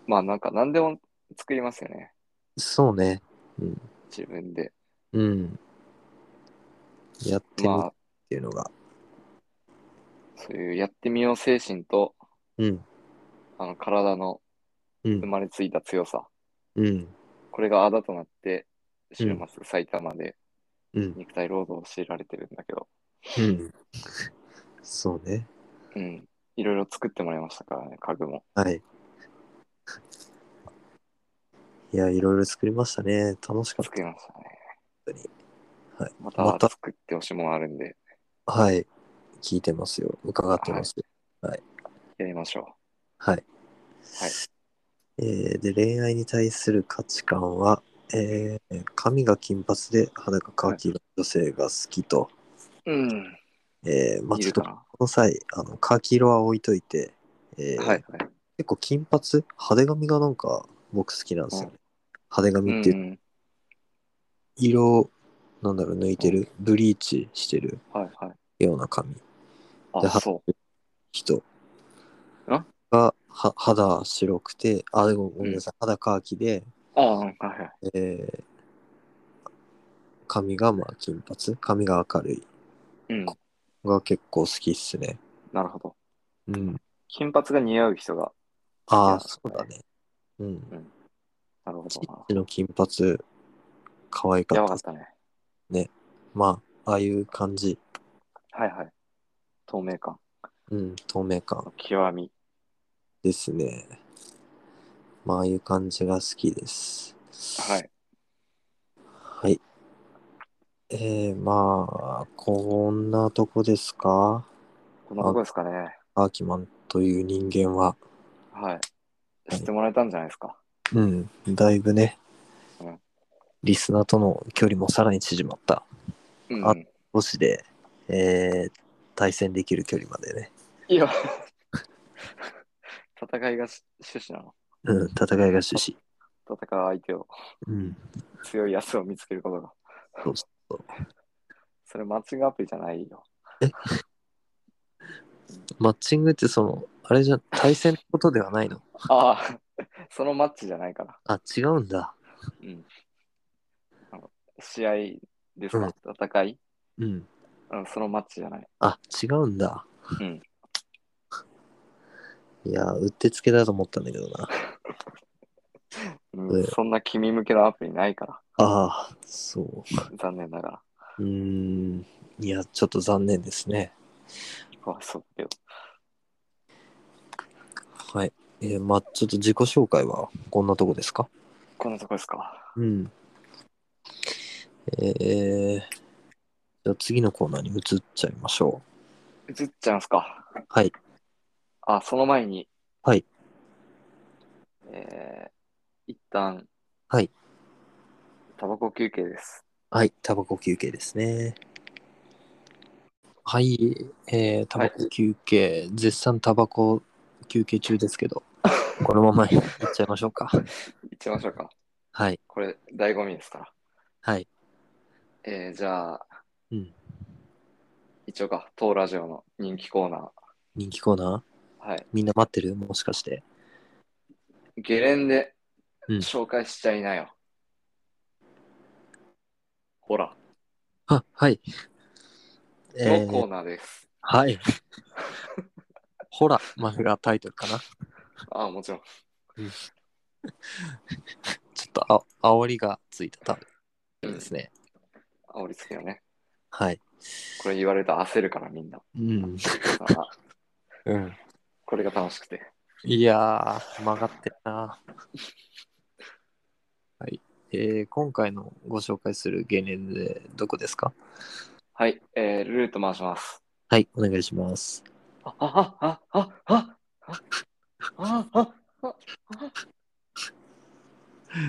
まあ、なんか何でも作りますよね。そうね。うん。自分で。うん。やってみるっまあ、ていうのが。そういうやってみよう精神と、うん。あの、体のう生ん。まれついた強さ、うん。これがあだとなって、週末埼玉でうん。肉体労働を強いられてるんだけど、うん。そうね。うん。いろいろ作ってもらいましたからね、家具も。はい。いや、いろいろ作りましたね。楽しかっ作りましたね。本当にはい。ままたた作ってほしいものあるんで、た。はい。聞いてますよ。伺ってますよ。やりましょはい。はいえーで、恋愛に対する価値観は、えー髪が金髪で肌がカーキ色の女性が好きと、う。うん。えーまあ、いちょるっとかこな。の際、あのカーキ色は置いといて、えーはいはい。結構金髪、派手髪がなんか僕好きなんですよね。派手う。髪っていうん色を、なんだろう、抜いてる、ブリーチしてるはいはい。ような髪、であ、はそ人あが、は肌白くて、あ、でもごめんなさい、肌カーキで、う。あ、はいはい。えー髪がまあ金髪髪が明るいうん。が結構好きっすね。なるほど。うん。金髪が似合う人が、あいあ、やそうだね。うん。なるほチどッチの金髪、可愛な。やかっばたかっっす。たね。まあ、ああいう感じ。はいはい。透明感うん、透明感の極み。ですね。まあ、ああいう感じが好きです。はい。はい。えー、まあ、こんなとこですかこんなとこですかね。アーキマンという人間は。はい。知ってもらえたんじゃないですか。うん、だいぶね、うんリスナーとの距離もさらに縮まった。うん。あ都市で、えー対戦できる距離までね、いや、 戦いがし趣旨なの。うん、戦いが趣旨。戦う相手を、うん、強いやつを見つけることが。そうそうそれマッチングアプリじゃないよ。マッチングってその、あれじゃ、対戦のことではないのああ、 そのマッチじゃないから。あ、違うんだ。うん。あの試合ですか、戦い、うん。うん、そのマッチじゃない。あ、違うんだ。うん。いやー、うってつけだと思ったんだけどな。うん、そんな君向けのアプリないから。ああ、そ残念ながら。う。うーん。いや、ちょっと残念ですね。かわいそうだけど。はい。えーまあちょっと自己紹介はこんなとこですかこんなとこですか。うん。えー、じゃあ次のコーナーに移っちゃいましょ映っちゃいますか。う。はい。あ、その前に。はい。えー、一旦。はい。タバコ休憩です。はい。タバコ休憩ですね。はい。えー、タバコ休憩、絶賛タバコ休憩中ですけ ど、このままいっちゃいましょうか。行っちゃいましょうか。はい。これ、醍醐味ですから。はい。えー、じゃあ、うん。一応か、当ラジオの人気コーナ人気コーナーー。はい。みんな待ってるもしかして。ゲレンデ、うん紹介しちゃいなよ。ほら、あ、はい。のコーナーです。はい。 ホラ、まあがタイトルかな。あ、もちろん。ちょっとあ煽りがついたタイトルですね。煽りつけよね。はい。これ言われると焦るから、みんな。うん。だからうん、これが楽しくて。いやー、曲がってるな。 はい。えー、今回のご紹介する芸人でどこですかはい、えー、ルート回します。はい、お願いします。あ、あ、あ、あ、あ、あ、あ、あ、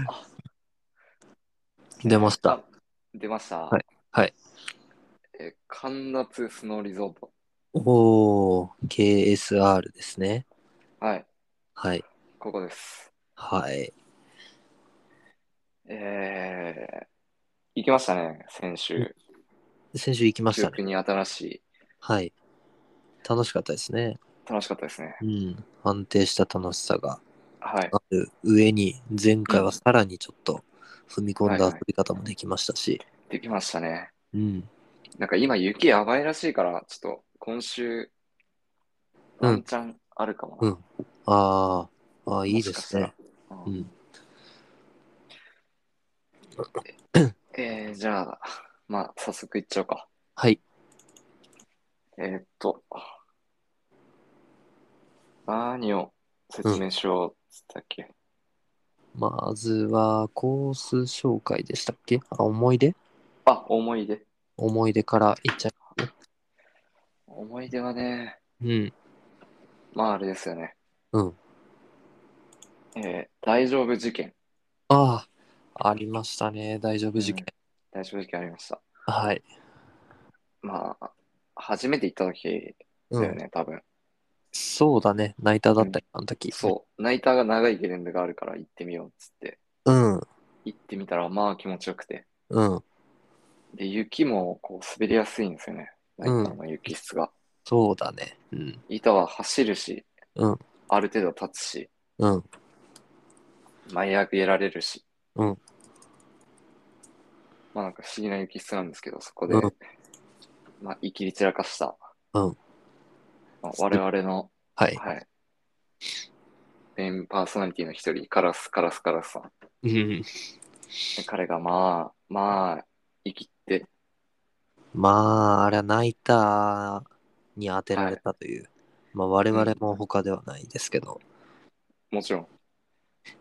あ、出ました。。出ました。はいはい。えー、神夏スノーリゾート。おー、KSR ですね。はい、はい。ここです。はい。えー、行きましたね、先週。先週行きまし記た憶ね。に新しい。はい。楽しかったですね。楽しかったですね。うん。安定した楽しさがはい。ある上に、前回はさらにちょっと踏み込んだはいは遊いび方もできましたし。できましたね。うん。なんか今雪やばいらしいから、ちょっと今週うんワンチャンあるかもうな。んあーあー、いいもでしかしすたねら。。ううんん。えーじゃあ、まあ、早速いっちゃおうか。はい。えーっと、何を説明しようっつったっけ、まずは、コース紹介でしたっけあ、思い出あ、思い出。思い出からいっちゃ思い出はね、う。うん。まああれですよね。うん。えー大丈夫事件。ああ、ありましたね。大丈夫事件。大丈夫事件ありました。はい。まあ、初めて行った時うだよん。ね、多分。そうだね。ナイターだったよ、あの時。そう、ナイターが長いゲレンデがあるから行ってみようっつって。う。うん。行ってみたら、まあ気持ちよくて。うん。で、雪もこう滑りやすいんですよね。ナイタうんーの雪質が。そうだね。うん。板は走るし、うんある程度立つし、うん。舞い上げられるし。うんまあなんか不思議な雪質なんですけど、そこで、うんまあ、いきり散らかした、うんまあ、我々の、はい。はい、メインパーソナリティの一人、カラス、カラス、カラスさん。うん。で彼がまあ、まあ、生きって、まあ、あれはナイターに当てられたという。まあ、我々も他ではないですけど。もちろん、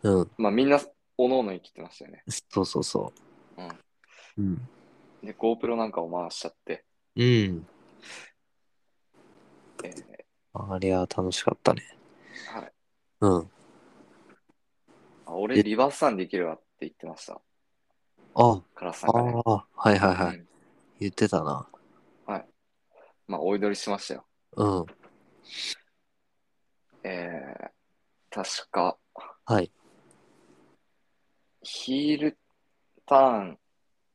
うん。まあみんな、おのおの生きってましたよね。そうそうそう。うん。で、GoPro なんかを回しちゃって、うん。えーあれは楽しかったね。はい、うん。あ俺、リバースサンできるわって言ってました。あ、カラスさんあがね。あ、はいはいはうい。ん言ってたな。まあ、お祈りしましたよ。うん。えー、確か、はい。ヒールターン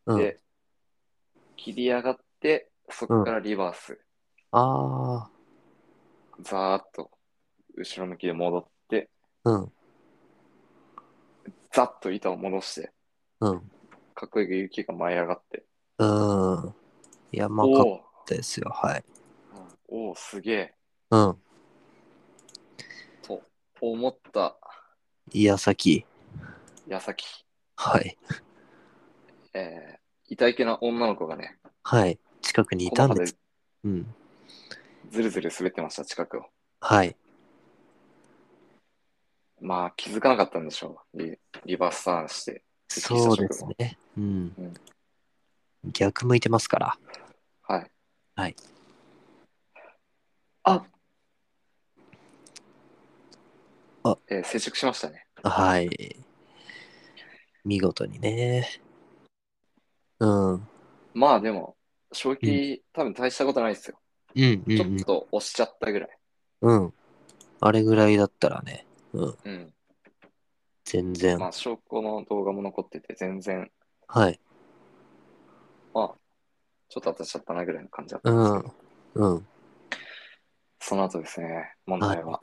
うん。で、切り上がって、そこからリバース、あザーッと、後ろ向きで戻って、あ、うん。ザッと板を戻して、うん。かっこいい雪が舞い上がって、うん。いや、まあ、かっおこよおかったですよ。はい。おおすげえ、うん。と思ったいや、さき。矢先、はい。えー、痛いけな女の子がね、はい。近くにいこたのんで。葉ですうん。ずるずる滑ってました、近くを。はい。まあ、気づかなかったんでしょう。リリバースターンして。そうですね。うん。逆向いてますから。はい。はい。ああえー接触しましたね。はい。見事にね。うん。うんまあでも、衝撃、多分大したことないですよ。うんうちょっん。と押しちゃったぐらい。うん。あれぐらいだったらね。うん。うん。全然。まあ、証拠の動画も残ってて、全然、はい。まあ、ちょっと当たっちゃったなぐらいの感じだったうんですんけど、。うん。その後ですね、問題は。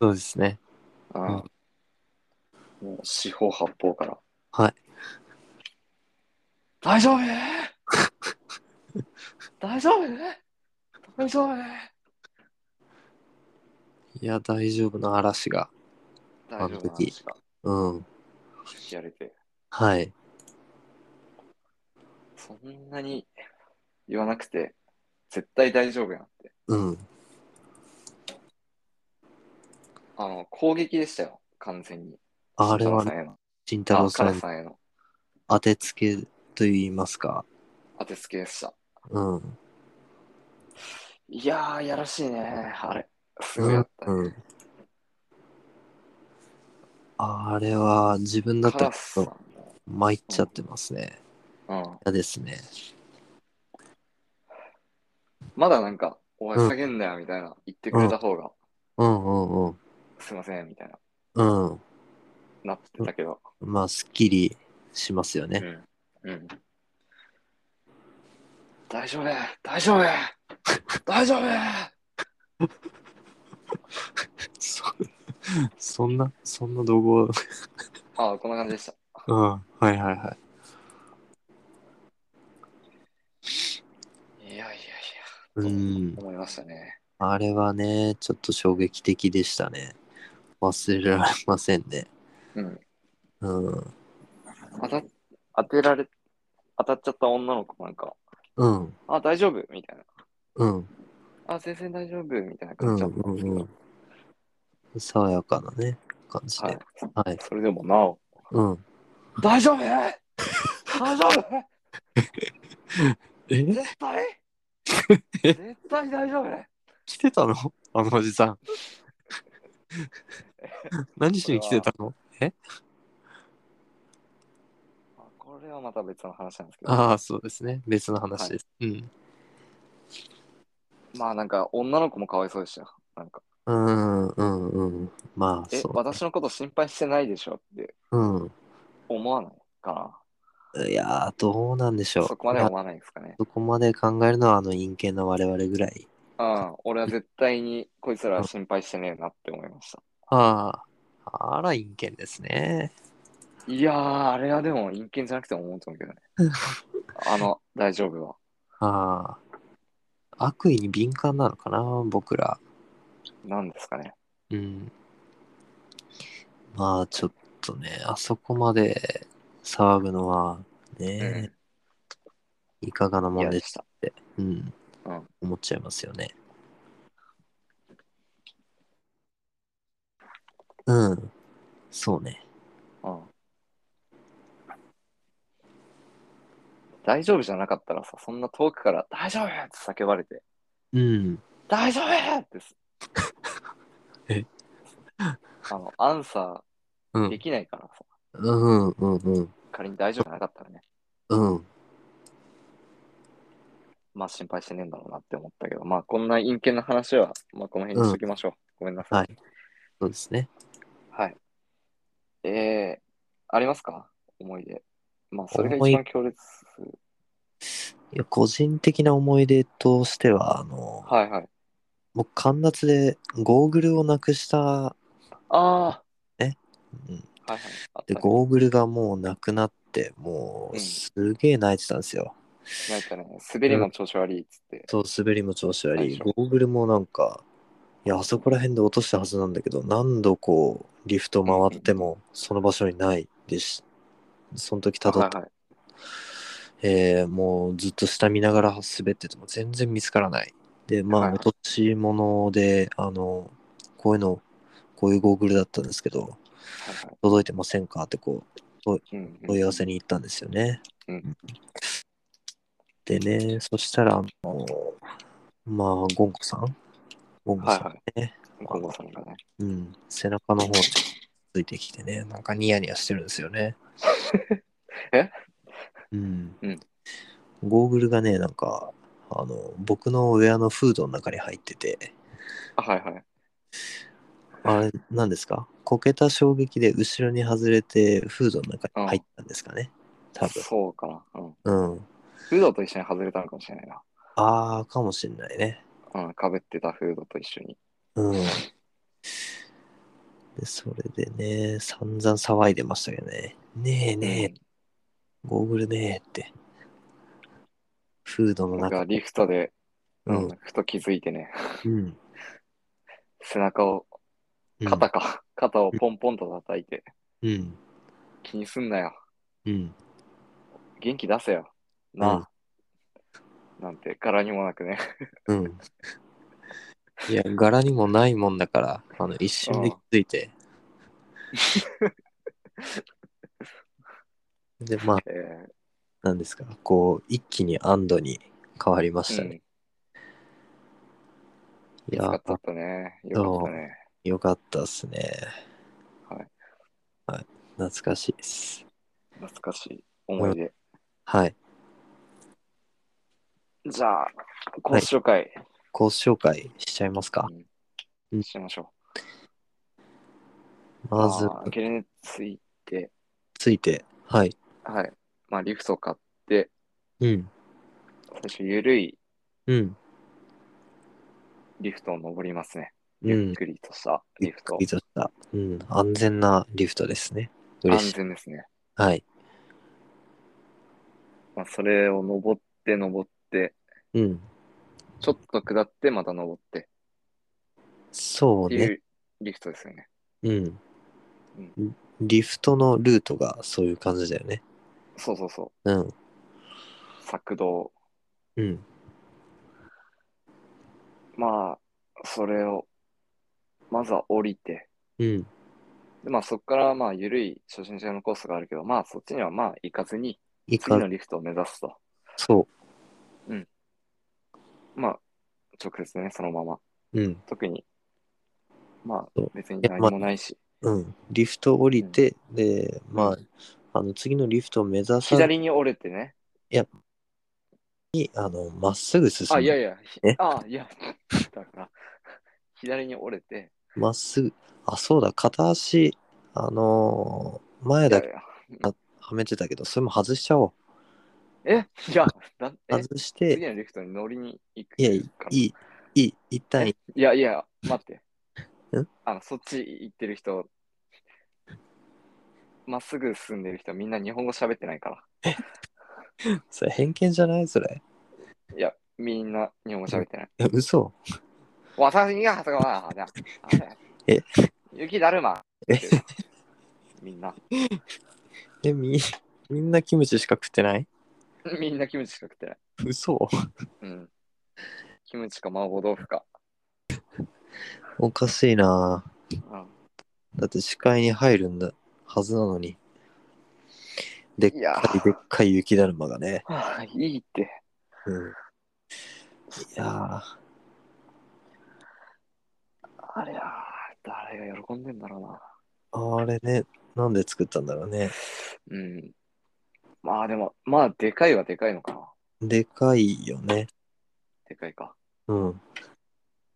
そうですね。うんもう四方八方から。はい。大丈夫 大丈夫 大丈夫いや、大丈夫な嵐が。大あ丈の夫時うん。やれて。はい。そんなに言わなくて、絶対大丈夫やんって。うん。あの、攻撃でしたよ、完全に。あれは慎ね、太郎さんへの。慎太あ郎カさラんスさんへの当てつけと言いますか。当てつけでした。うん。いやー、やらしいね、あれ。すごいうやんった。うん。あれは自分だっカたらラちスさょんっと参っちゃってますね。も、うん。嫌ですね。まだなんか、お前下げんなよみたいな、言ってくれた方が、うんうんうん。すいませんみたいな、うん。なってたけど、まあ、すっきりしますようね。ん。うん、大丈夫大丈夫大丈夫そそんな、そんな動画。ああ、こんな感じでした。うん。はいはいはい。いやいやいや、うん。思いましたね。あれはね、ちょっと衝撃的でしたね。忘れられませんね。うん。うん。当た当てられ、当たっちゃった女の子なんか、うん。あ、大丈夫みたいな。うん。あ、全然大丈夫みたいなう感ん。じだったんですけど、うん。うん。爽やかなね、感じはいで。。はい。それでもなお、うん。大丈夫大丈夫え絶対 絶対大丈夫来てたのあのおじさん。 何しに来てたのあこれはまた別の話なんですけど、ああ、そうですね。別の話です。うん。まあなんか女の子もかわいそうでしたよ。なんか、うんうんうん。まあ、え、そう。私のこと心配してないでしょってうん。思わないかいやー、どうなんでしょな。う。そこまでまあ思わないですかね。そこまで考えるのは、あの、陰険な我々ぐらい。うん、俺は絶対にこいつらは心配してねえなって思いました。ああ、あら、陰険ですね。いやー、あれはでも陰険じゃなくても思うと思うけどね。あの、大丈夫は。ああ。悪意に敏感なのかな、僕ら。なんですかね。うん。まあ、ちょっとね、あそこまで騒ぐのは、ね、いかがなもん嫌ででしした。て、うん、うん思っちゃいますよね。うん、そうね。うん。大丈夫じゃなかったらさ、そんな遠くから大丈夫って叫ばれて、うん、大丈夫ってす えあの、アンサうーでん、きないからさ、うん、うん、うん、仮に大丈夫じゃなかったらね、うん、まあ心配してねえんだろうなって思ったけど、まあこんな陰険な話は、まあこの辺にしときましょう。ごめんなさい。はい。そうですね。はい。えー、ありますか思い出。まあそれが思い一番強烈。いや個人的な思い出としては、あの、はいはい。僕、寒夏でゴーグルをなくした、あうん、あ、はいはい。あったで、ねゴーグルがもうなくなって、もううんすげえ泣いてたんですよ。なんかね、滑りも調子悪いっつって。そう、滑りも調子悪よいい。しゴょーグルもなんか、いや、あそこら辺で落としたはずなんだけど、何度こう、リフト回っても、その場所にないです。その時たどはっいはい。えーもうずっと下見ながら滑ってても全然見つからない。で、まはあ、いはい落とし物で、あの、こういうの、こういうゴーグルだったんですけど、はいはい届いてませんかってこう、うんうん問い合わせに行ったんですよね。うんでね、そしたら、あのまあ、ゴンコさんゴンコはさいん、はい。ゴンゴさんがね。。うん、背中の方についてきてね、なんかニヤニヤしてるんですよ ねえうん、うんゴーグルがね、なんか、あの、僕のウェアのフードの中に入ってて、あはいはい。あれ、なんですかこけた衝撃で後ろに外れて、フードの中に入ったんですかね。多分。そうかな。うん。うん。フードと一緒に外れたのかもしれないな。ああ、かもしんないね。うん、かぶってたフードと一緒に。うん。で、それでね、散々騒いでましたけどね。ねえねえ、ゴーグルねえって。フードうのん、なんか中。リフトで、ううんん、ふと気づいてね、うん。背中を、うん肩か、肩をポンポンと叩いて、うん。気にすんなよ。うん。元気出せよ。なあ。なんて、柄にもなくね。うん。いや、柄にもないもんだから、あの、一瞬で気づいて。で、まあ、 えーなんですか、こう、一気に安堵に変わりましたうん、ね。きいつやかっ、たったね。よかったね。よかったっすね。はい。はい。懐かしいっす。懐かしい思い出。はい。じゃあ、講師紹介、コース紹介しちゃいますか。うんしましょう。まず、あーゲレについて、ついて。はい。はい。まあ、リフト買って、うん。最初、ゆるいうん。リフトを登りますね。うゆんっ。くりとしたリフトリ。フトした。うん。安全なリフトですね。嬉安しい。全ですね。はい。まあ、それを登って、登って、うん。ちょっと下って、また登って、そうてね。いうリフトですよね。うん。リフトのルートがそういう感じだよね。そうそうそう。うん。策動。うん。まあ、それを、まずは降りて、うん。でまあそこからまあ緩い初心者のコースがあるけど、まあそっちにはまあ行かずに、いい次かの、リフトを目指すと。そまあ、直接ね、そのまま。う。うん。特に、まそあう別にえ何まあもないし、うん。リフト降りて、で、うまんあ、あの、次のリフトを目指さず左に折れてね。に、あの、まっすぐ進あ、む。いやいや、ひえあ、いや、 だから、左に折れて、まっすぐ。あ、そうだ、片足、あのー前いやだいけや、はめてたけど、それも外しちゃおえ、いや、だう。え外し次て、のリフトに乗りに行くいや、いからい、いい、一旦いいいやいや、待ってん。あの、そっち行ってる人、まっすぐ進んでる人、みんな日本語喋ってないから。それ偏見じゃないそれ。いや、みんな日本語喋ってない。いや、嘘。私が、そこは、あれえ雪だるま。え みんな、え、み、 みんなキムチしか食ってないみんなキムチしか食ってない。嘘。うん。キムチか麻婆豆腐か。おかしいなうんだって視界に入るんだはずなのに。でっいやかいでっかい雪だるまがね。はあ、いいって。うん。いやあれや、誰が喜んでんだろうな。ー、あれね、なんで作ったんだろうね。うん。まあでも、まあ、でかいはでかいのかな。でかいよね。でかいか。うん。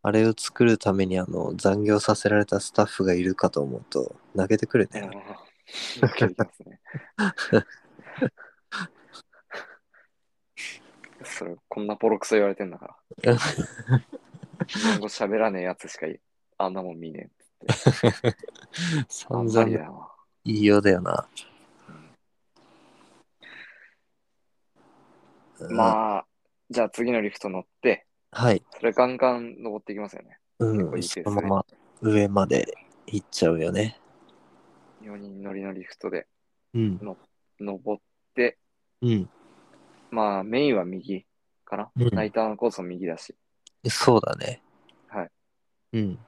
あれを作るためにあの残業させられたスタッフがいるかと思うと投げてくるうんね。よくできます ね。それ、こんなボロクソ言われてんだから。日本語喋らねえやつしかいあんなもん見ねえっつって。あ散んま々りだいよな。いようだよな。うんまあ、じゃあ次のリフト乗って、はい。それガンガン登っていきますよね。う構いん。いペースそのねまま上まで行っちゃうよね。 4人乗りのリフトでうん。登って、うん。まあメインは右かな。うんナイターのコースも右だし、そうだね。はい。うん。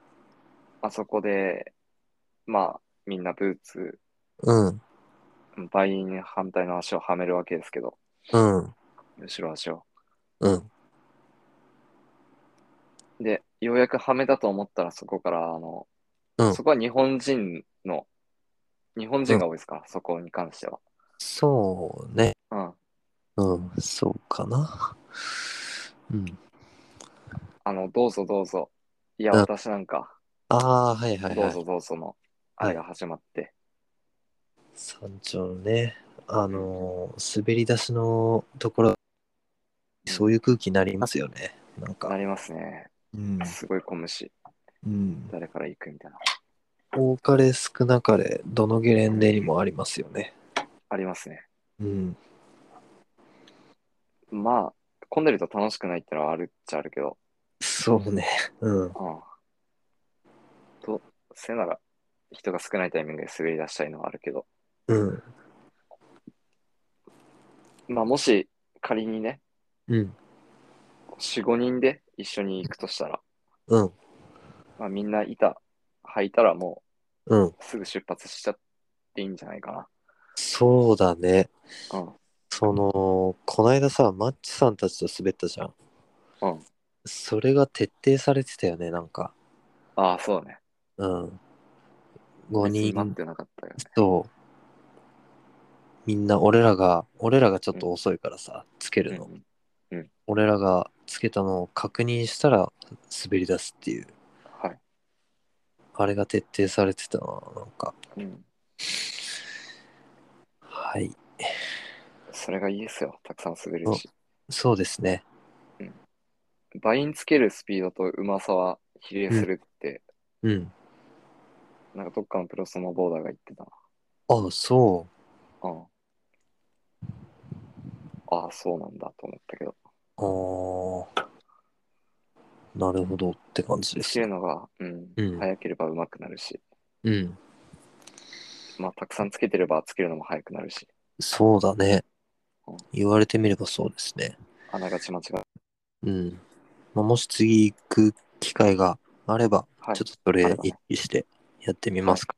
あそこで、まあみんなブーツ、うん。バイン反対の足をはめるわけですけど、うん。後ろ足を。うん。で、ようやくはめたと思ったら、そこから、あの、うんそこは日本人の、日本人が多いですから、そこに関しては。そうね。うん。うん。そうかな。うん。あの、どうぞどうぞ。いや、うん私なんか、ああー、はいはいどはうい。ぞどうぞの、あれが始まって。山頂のね、あのー滑り出しのところ、そういう空気になりますよね。なんなか。りますね。うん。すごい小虫。うん。誰から行くみたいな。多かれ少なかれ、どのゲレンデにもありますよね。ありますね。うん。まあ、混んでると楽しくないってのはあるっちゃあるけど、そうね。うん。うん。と、せなら、人が少ないタイミングで滑り出したいのはあるけど、うん。まあ、もし仮にね、うん。 4、5人で一緒に行くとしたら、うん。まあ、みんな板履いたらもうん。うすぐ出発しちゃっていいんじゃないかそうだね。な。うん。そのこないださマッチさんたちと滑ったじゃん、うん、それが徹底されてたよねなんかああ、そうだね。うん5別に待っ人てなかったよね。とみんな俺らが俺らがちょっと遅いからさ、つけるの、うん俺らがつけたのを確認したら滑り出すっていうはい。あれが徹底されてたななんかうん。はいそれがいいですよ。たくさん滑るし。そうですねバインつけるスピードとうまさは比例するって、うんなんかどっかのプロスノーボーダーが言ってたな。あそうん。ああ、そうなんだと思ったけど。うあーなるほどって感じでできす。るのが、うん、うん早ければ上手くなるし、うん。まあ、たくさんつけてればつけるのも早くなるし、そうだねうん。言われてみればそうですね。あながち間違い。うん。まあ、もし次行く機会があれば、はいちょっとそあれればね意識してやってみますか。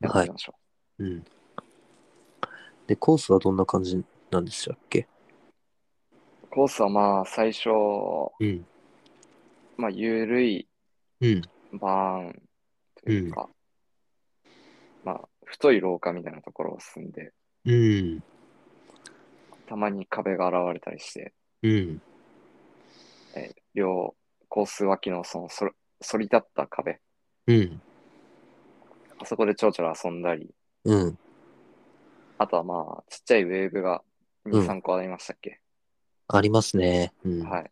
やってみましょうん。で、コースはどんな感じなんでしたっけう。コースはまあ、最初、うん。まあ、ゆるいうん。バーンというか、まあ、太い廊下みたいなところを進んで、うん。たまに壁が現れたりして、うん。両コース脇のそのそ反り立った壁、うん。あそこでちょろちょろ遊んだり、うん。あとはまあ、ちっちゃいウェーブがう2、ん3個ありましたっけ、ありますね。うん。はい。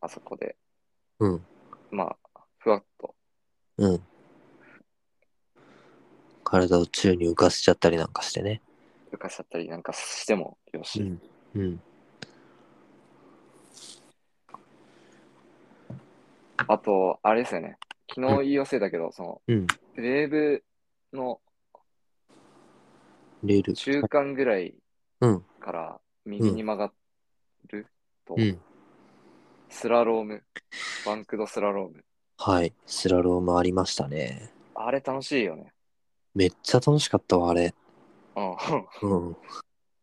あそこで、うん。まあ、ふわっと、うん。体を宙に浮かせちゃったりなんかしてね。浮かしちゃったりなんかしてもよし、ん。うん。あと、あれですよね、昨日言い忘れたけど、その、うん。ウェーブのレール。中間ぐらいうん。から右に曲がると、うん。スラローム、バンクドスラローム。はい。スラロームありましたね。あれ楽しいよね。めっちゃ楽しかったわ、あれ。うん。 うん。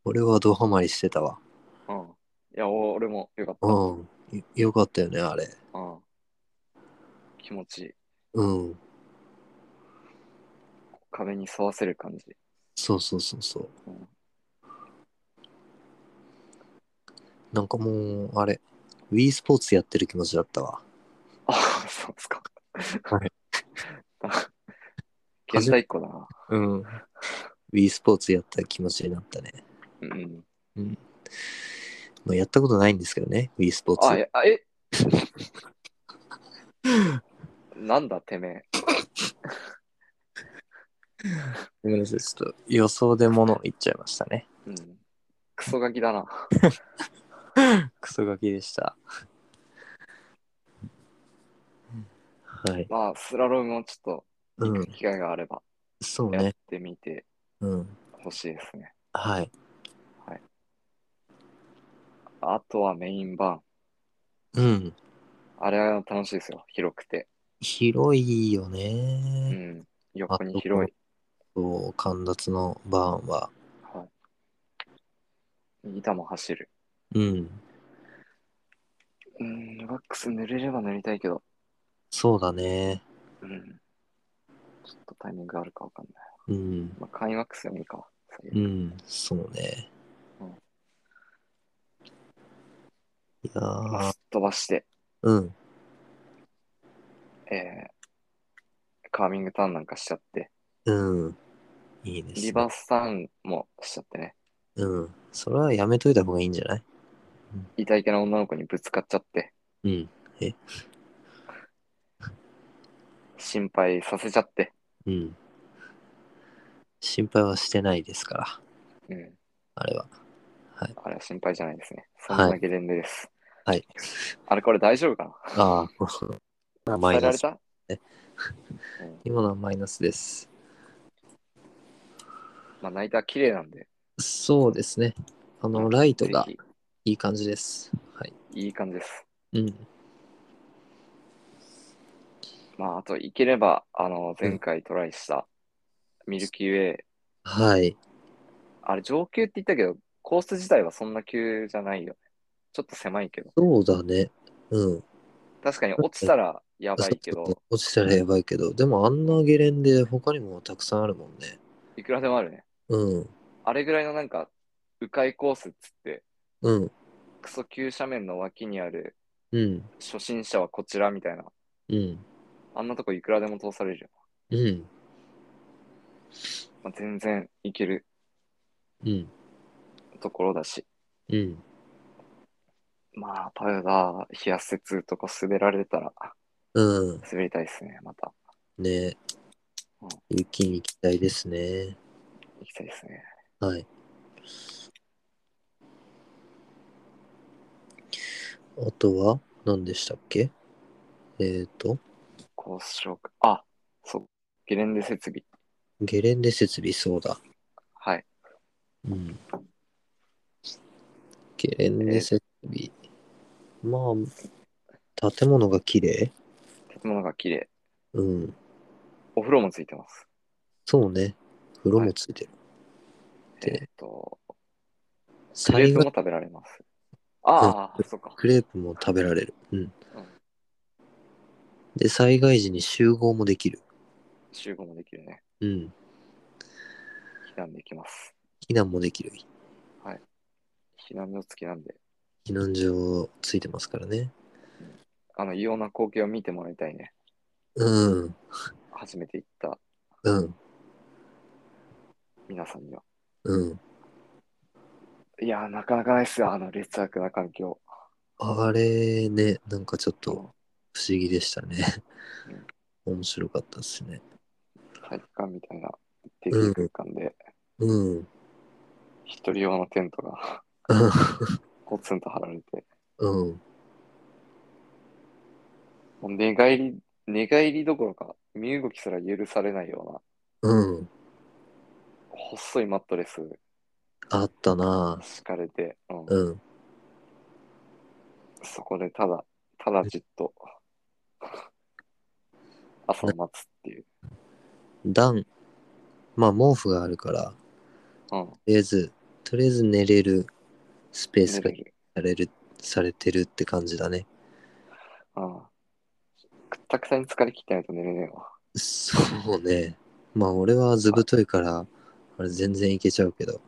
俺はドハマりしてたわ。うん。いや、お俺もよかった。うん。よよかったよね、あれ。うん。気持ちいい。うん。壁に沿わせる感じ。そうそうそうそううん。なんかもう、あれ、Wii スポーツやってる気持ちだったわ。あそうですか。 はい。現代っ子だな。うん。Wii スポーツやった気持ちになったね。うんうん。まあ、やったことないんですけどね、Wii スポーツ。あ、え、あえ なんだてめえ。ごめんなさい、ちょっと予想で物を言っちゃいましたね。うん。クソガキだな。クソガキでした。はい。まあ、スラロームもちょうっとん、機会があればそうやっね。てみてうん。ほしいですね。はい。あとはメインバーン。うん。あれは楽しいですよ。広くて。広いようね。ん。横に広い。そう、神達のバーンは。はい。右板も走る。うん。うん、ワックス塗れれば塗りたいけど、そうだね。うん。ちょっとタイミングあるかわかんない。うん。まあ、簡易ワックスでもいいか。最悪うん。そうね。うんいやまあーすっ飛ばして、うん。えー、カーミングターンなんかしちゃって、うん。いいですね。リバースターンもしちゃってね、うん。それはやめといた方がいいんじゃない痛いけな女の子にぶつかっちゃって、うん。心配させちゃって、うん。心配はしてないですから、うん、あれは。あれは心配じゃないですね。そんはいなゲレンデです。はい。あれこれ大丈夫かああ、このなマ伝えイらナれス。た今のはマイナスです。まあ、ナイター綺麗なんで、そうですね。あの、ライトがぜいい感じです。はい。ひいい感じです。うん。まあ、あと、いければ、あの、前回トライした、ミルキーウェイ、はい。あれ、上級って言ったけど、コース自体はそんな急じゃないよね。ちょっと狭いけど。そうだね。うん。確かに落ちたらやばいけそうど、落ちたらやばいけど、でもあんなゲレンデ他にもたくさんあるもんね。いくらでもあるね。うん。あれぐらいのなんか、迂回コースっつって、うん。クソ急斜面の脇にあるうん。初心者はこちらみたいな、うん。あんなとこいくらでも通されるよ。うん。まあ、全然いけるうん。ところだし、うん。まあ、パウダー、冷やせつとか滑られたら、うん。滑りたいですね、また。ねうん雪に期待ですね。行きたいですね。はい。あとは何でしたっけえっ、と、交渉か。あ、そう。ゲレンデ設備。ゲレンデ設備、そうだ。はい。うん。ゲレンデ設備。まあ、建物が綺麗建物が綺麗。うん。お風呂もついてます。そうね。風呂もついてる。えでーっと、クレ最ープ後、も食べられます。ああ、そうか。クレープも食べられる。うんうん。で、災害時に集合もできる。集合もできるね。うん。避難できます。避難もできる。避難所付きなんで、避難所ついてますからね。あの、異様な光景を見てもらいたいね。うん。初めて行ったうん。皆さんには。うん。いやー、なかなかないっすよ。あの、劣悪な環境。あれね、なんかちょっと不思議でしたね。面白かったですね。体育館みたいな、定期空間で、うん。一人用のテントがポツンと張られて、うん。もう寝返り、寝返りどころか、身動きすら許されないような、うん。細いマットレスあったな敷かれて、うぁんうん。そこでただ、ただじっと、朝を待つっていう。暖。まあ毛布があるから、うん。とりあえず、とりあえず寝れるスペース寝がれる。される、されてるって感じだね。うん。くったくたに疲れ切ってないと寝れねえわ。そうね。まあ俺は図太いから、あれ全然いけちゃうけど。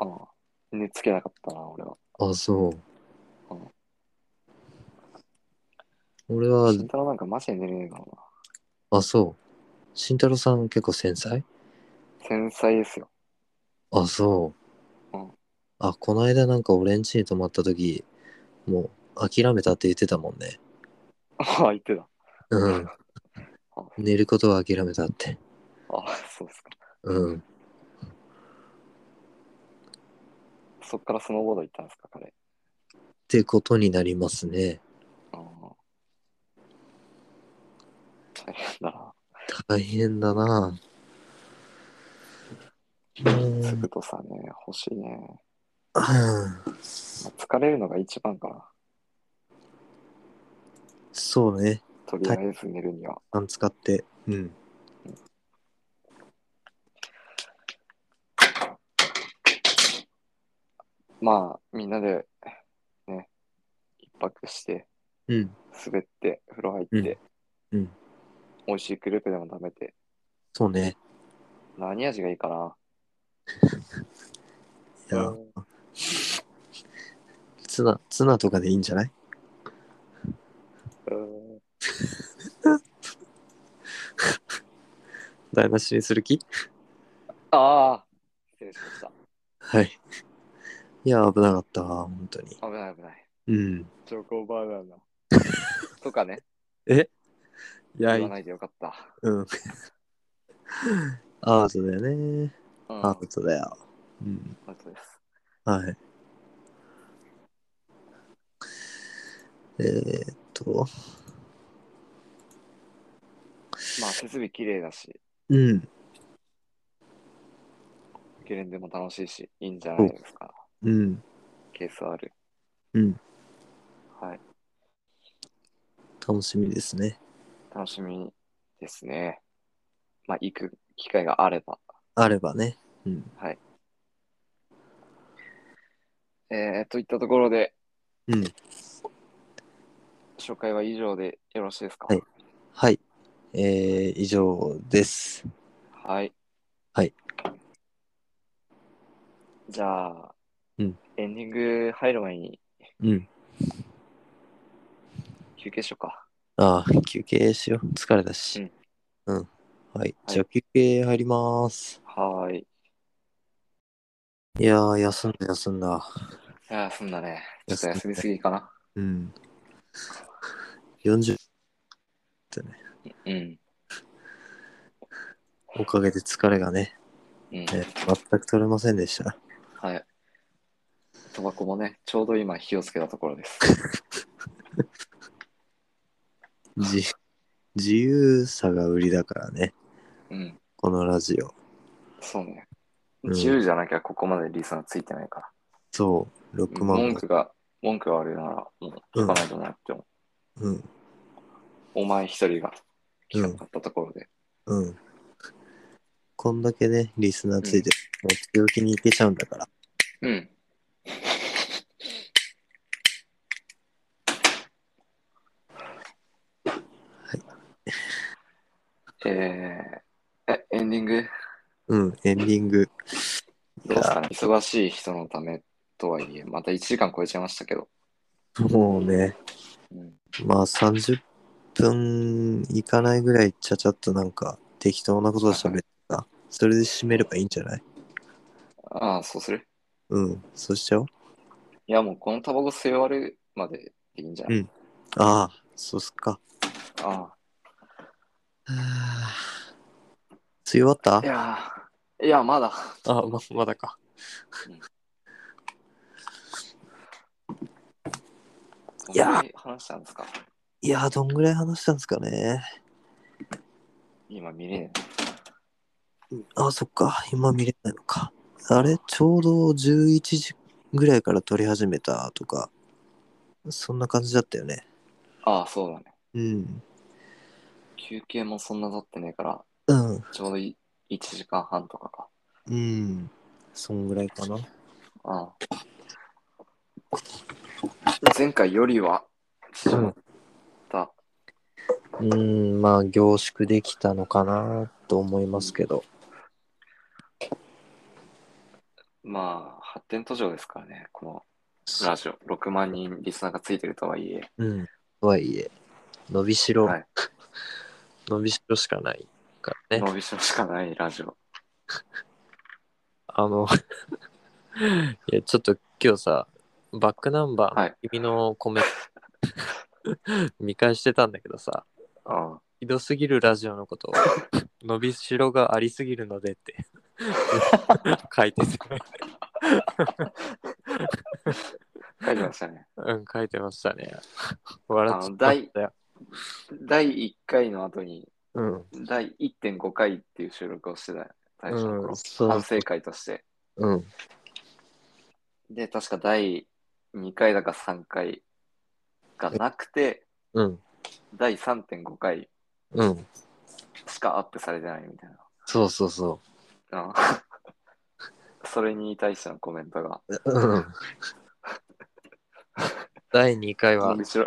うん。寝つけなかったな、俺は。。あ、そううん俺は、慎太郎なんかマジで寝れねえからな。あ、そう。慎太郎さん結構繊細繊細ですよ。 あ、そう。うんあ、この間なんか俺ん家に泊まった時、もう諦めたって言ってたもんね。ああ、言ってた。うん。寝ることは諦めたって。ああ、そうですか。うん。そっからスノーボード行ったんですか、彼。ってことになりますね。ああ。大変だな。大変だな。つうんぐとさね、欲しいね。うんまあ疲れるのが一番かな。そうね。とりあえず寝るには。あん使って。うん。まあ、みんなで、ね、一泊して、うん。滑って、風呂入って、うんうん美味しいクレープでも食べて、そうね。何味がいいかな。いや、ツナ、ツナとかでいいんじゃないうん台無しにする気ああ、失礼しました。はい。いや、危なかったわ、本当に。危ない危ない。うん。チョコバ ナナ。とかね、いや言わ、ないでよかった。うん。 アートだよね。うん、アートだよ。うん。アウトです。はい。えー、っと、まあ、設備綺麗だし、うん。ゲレンデも楽しいし、いいんじゃないですか。うん。ケースある。うん。はい。楽しみですね。楽しみですね。まあ、行く機会があれば。あればね。うん。えー、といったところで、うん。紹介は以上でよろしいですかはいはい。えー、以上です。はい。はいじゃあ、うんエンディング入る前にうん。休憩しようか。ああ、休憩しよう。疲れたし。うん。はい。じゃあ休憩入ります。はーい。いやー、休んだ、休んだ。いやー、そんだね。ちょっと休みすぎかな。うん。40うん。おかげで疲れがね、うん。えー全く取れませんでした。はい。タ バコもね、ちょうど今火をつけたところです。じ自由さが売りだからね、うん。このラジオ。そうね。うん自由じゃなきゃここまでリスナーついてないから。そう、6万文が句が、文句が悪いなら、もう聞かないとなって思う。うん、お前一人が聞かなかったところで。うん。こんだけね、リスナーついてる、もう強気にいけちゃうんだから。うん。えー、え、エンディングうん、エンディング。どうですかね忙しい人のためとはいえ、また1時間超えちゃいましたけど。もうね、うん、まあ30分いかないぐらいちゃちゃっとなんか適当なことを喋った。それで締めればいいんじゃないああ、そうするうん、そうしちゃおう。いや、もうこのタバコ吸い終わるまででいいんじゃない、うんああ、そうっすか。あはあ吸い終わったあ。いやー、いや、まだ。あ、ま、まだか。いやーどんぐら話したんですかいやー、どんぐらい話したんですかね。今見れねあ、そっか。今見れないのか。あれ、ちょうど11時ぐらいから撮り始めたとか、そんな感じだったよね。え。ああ、そうだね。うん。休憩もそんな経ってねえから、うん。ちょうどい1時間半とかか。うん。そんぐらいかな。ああ前回よりは縮まった。うん、まあ、凝縮できたのかなと思いますけど。まあ、発展途上ですからね、このラジオ。6万人リスナーがついてるとはいえ。うん。とはいえ、伸びしろ、はい 伸びしろしかないからね。伸びしろしかないラジオ。あの、 いや、ちょっと今日さ、バックナンバーはのい君のコメント 見返してたんだけどさ、あひどすぎるラジオのことを伸びしろがありすぎるのでって 書いてて、あ、書いてましたね。うん、書いてましたね。笑っちゃあのった第よ。第1回の後に、うん、第1.5回っていう収録をしてた最初のう頃ん、そう反省会として。うん、で、確か第2回だか3回がなくて、うん、第3.5回うん、しかアップされてないみたいそうそうそな。 それに対してのコメントが、う。 うん、第2回は伸びしろ、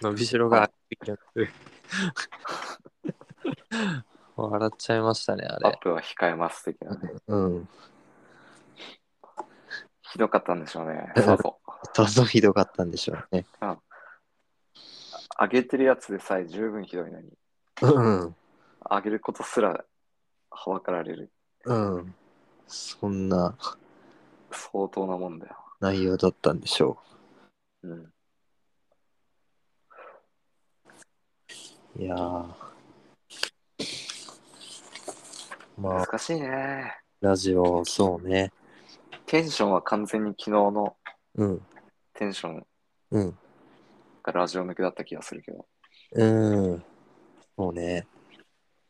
伸びしろがありすぎるので 笑っちゃいましたね、あアッれ。プは控えます的なね。うん、ひどかったんでしょうね。うんそうそう。さぞひどかったんでしょうね。上げてるやつでさえ十分ひどいのに、うん、上げることすらはばかられるうん、そんな相当なもんだよ。内容だったんでしょう。うん。いやーまあ、難しいね。ラジオ、そうね。テンションは完全に昨日のうん、テンションうん、がラジオ向けだった気がするけど、うん。そうね。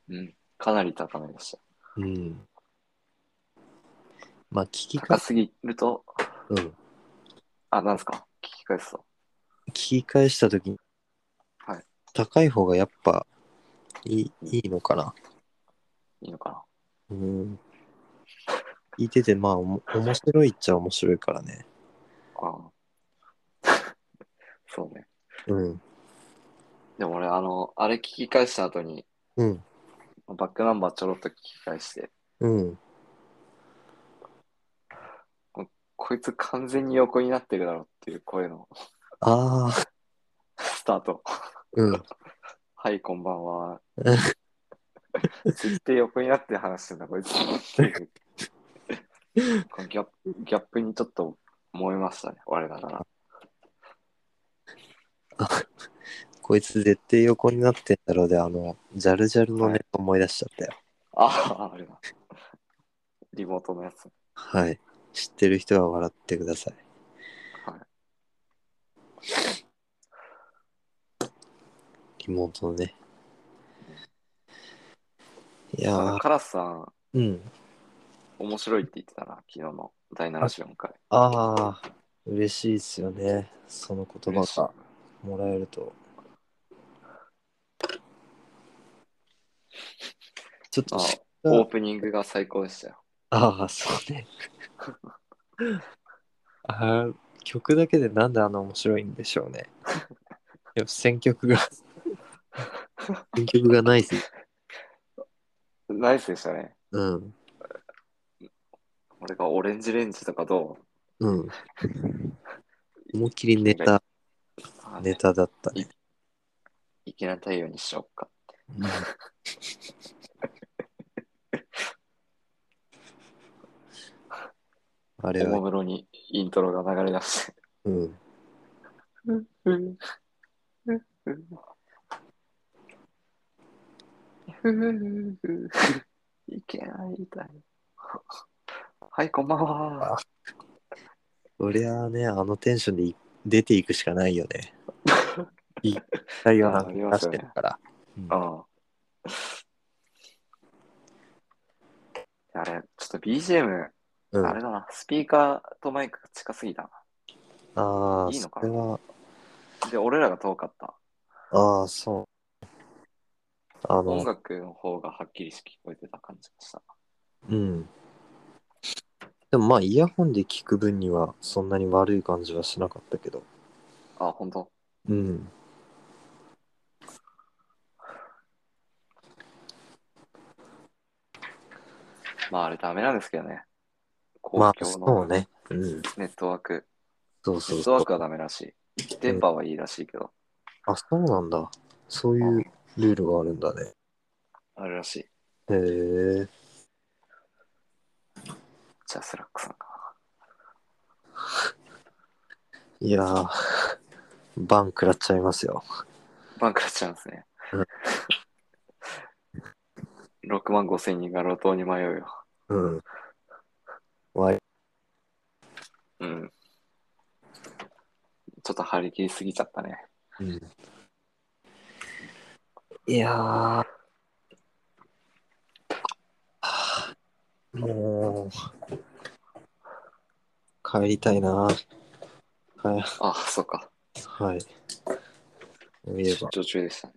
うん。かなり高めでした。うん。まあ、聞き高か、すぎると、うん、聞あ、なんですか聞き返すと。き返したとき、はい高い方がやっぱいいいいのかな。いいのかうん。聞いてて、まあ、おも面白いっちゃ面白いからね。なああ そうね。うん、でも俺、あの、あれ聞き返した後に、うん、バックナンバーちょろっと聞き返して、うん。こいつ完全に横になってるだろっていう声の ああ、スタート。うん、はい、こんば んはう。絶対横になって話してんだ、こ いつ。っていうこのギャップギャップにちょっと燃えましたね、我ながら。こいつ絶対横になってんだろうで、あの、ジャルジャルのはネいタ思い出しちゃったよ。ああ、あれだ。リモートのやつ。はい。知ってる人は笑ってください。リ妹のね。いやあー、カラスさん、うん。面白いって言ってたな、昨日の第74回。ああ、嬉しいですよね。その言葉嬉しいがもらえると。ちょっとあし、オープニングが最高でしたよ。ああ、そうね。 あー曲だけでなんであの面白いんでしょうね。やっぱ選曲が選曲がないです。ナイスでしたね。うん。俺がオレンジレンジとかどうん。思いっきりネタ、うあネタだったね。粋な太陽にしよっか。うんあれおもは、むろにイントロが流れ出して。うん。いけないみたい。はい、こんばんは。そりゃあね、あのテンションでい出ていくしかないよ ね。いい太陽なんか出してるから。あああれ、ちょっと BGM、うん。あれだな、スピーカーとマイクが近すぎたああ、いいのかそなれは、な。で、俺らが遠かった。ああ、そう。あ音の、楽の方がはっきりし聞こえてた感じがした。うん。でもまあ、イヤホンで聞く分には、そんなに悪い感じはしなかったけど。あ、本当。うん。まあ、あれダメなんですけどね。公まあ、共そうのね。うん。ネットワーク。そうネそうットそワうー。クはダメらしい。電波はいいらしいけど、あ、そうなんだ。そういうルールがあるんだね。あれらしい。へえ。じゃあ、スラックさんかいやー、 バン食らっちゃいますよ。な。バンクラちゃうんですね うん。 6万5千人が路頭に迷うよ。うん。わい、うん。ちょっと張り切りすぎちゃったね。うん。いやーはあもう、帰りたいな。はい、あ、そっか。はい。見れ出ば。張中でしたね。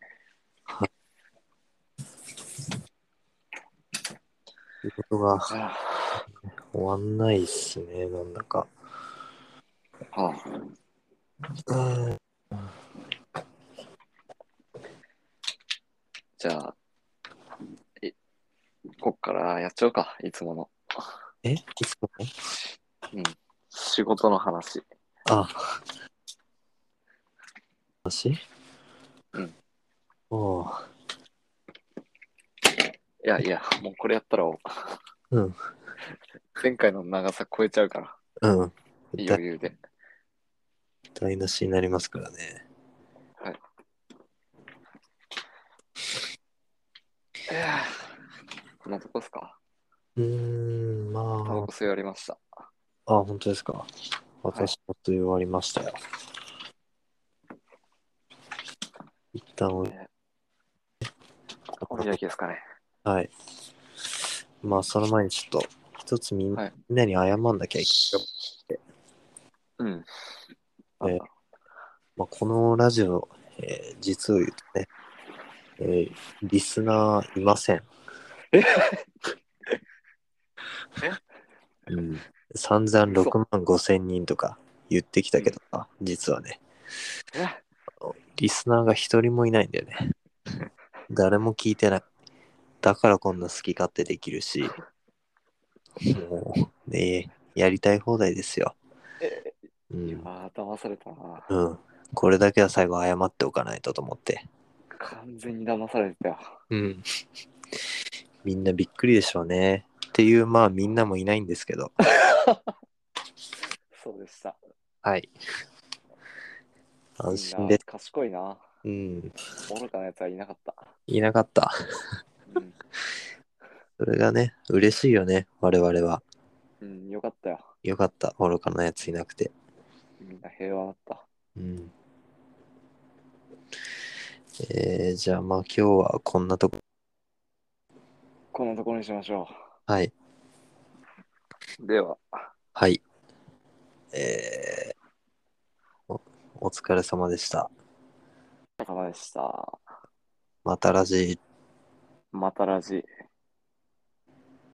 仕事があ終わんないっすね、なんだか。ああうん。じゃあ、いこっからやっちゃおうか。いつもの。えいつもの仕事の話。あ。話うん。おういやいや、もうこれやったらお、うん。前回の長さ超えちゃうから、うん。余裕で。台無しになりますからね。いやあこんなとこっすか。うーん、タバまコ吸い終わりました。あ。あ、本当ですか。私もと言われましたよ。一旦お、お開きですかね。はい。まあ、その前にちょっと、一つみん,、はいなに謝んなきゃいけない。うん。えーまあ、このラジオ、えー実を言うとね、えーリスナーいません。え うん、散々6万5千人とか言ってきたけどさ、実はね、えリスナーが一人もいないんだよね。誰も聞いてない。だからこんな好き勝手できる し、もう、ねやりたい放題ですよ。えういやん、ー騙されたな。うん。これだけは最後謝っておかないとと思って。完全に騙されてたよ。うん。みんなびっくりでしょうね。っていう、まあみんなもいないんですけど。そうでした。はい。安み心んでな。賢いな。うん。愚かなやつはいなかった。いなかった。うんそれがね、嬉しいよね。我々は。うん、よかったよ。よかった。愚かなやついなくて。みんな平和だった。うん。えー、じゃあまあ今日はこんなとこ。こんなところにしましょはい。う。では、はい。えー、おお疲れ様でした。お疲れ様でした。またラジー。またラジ。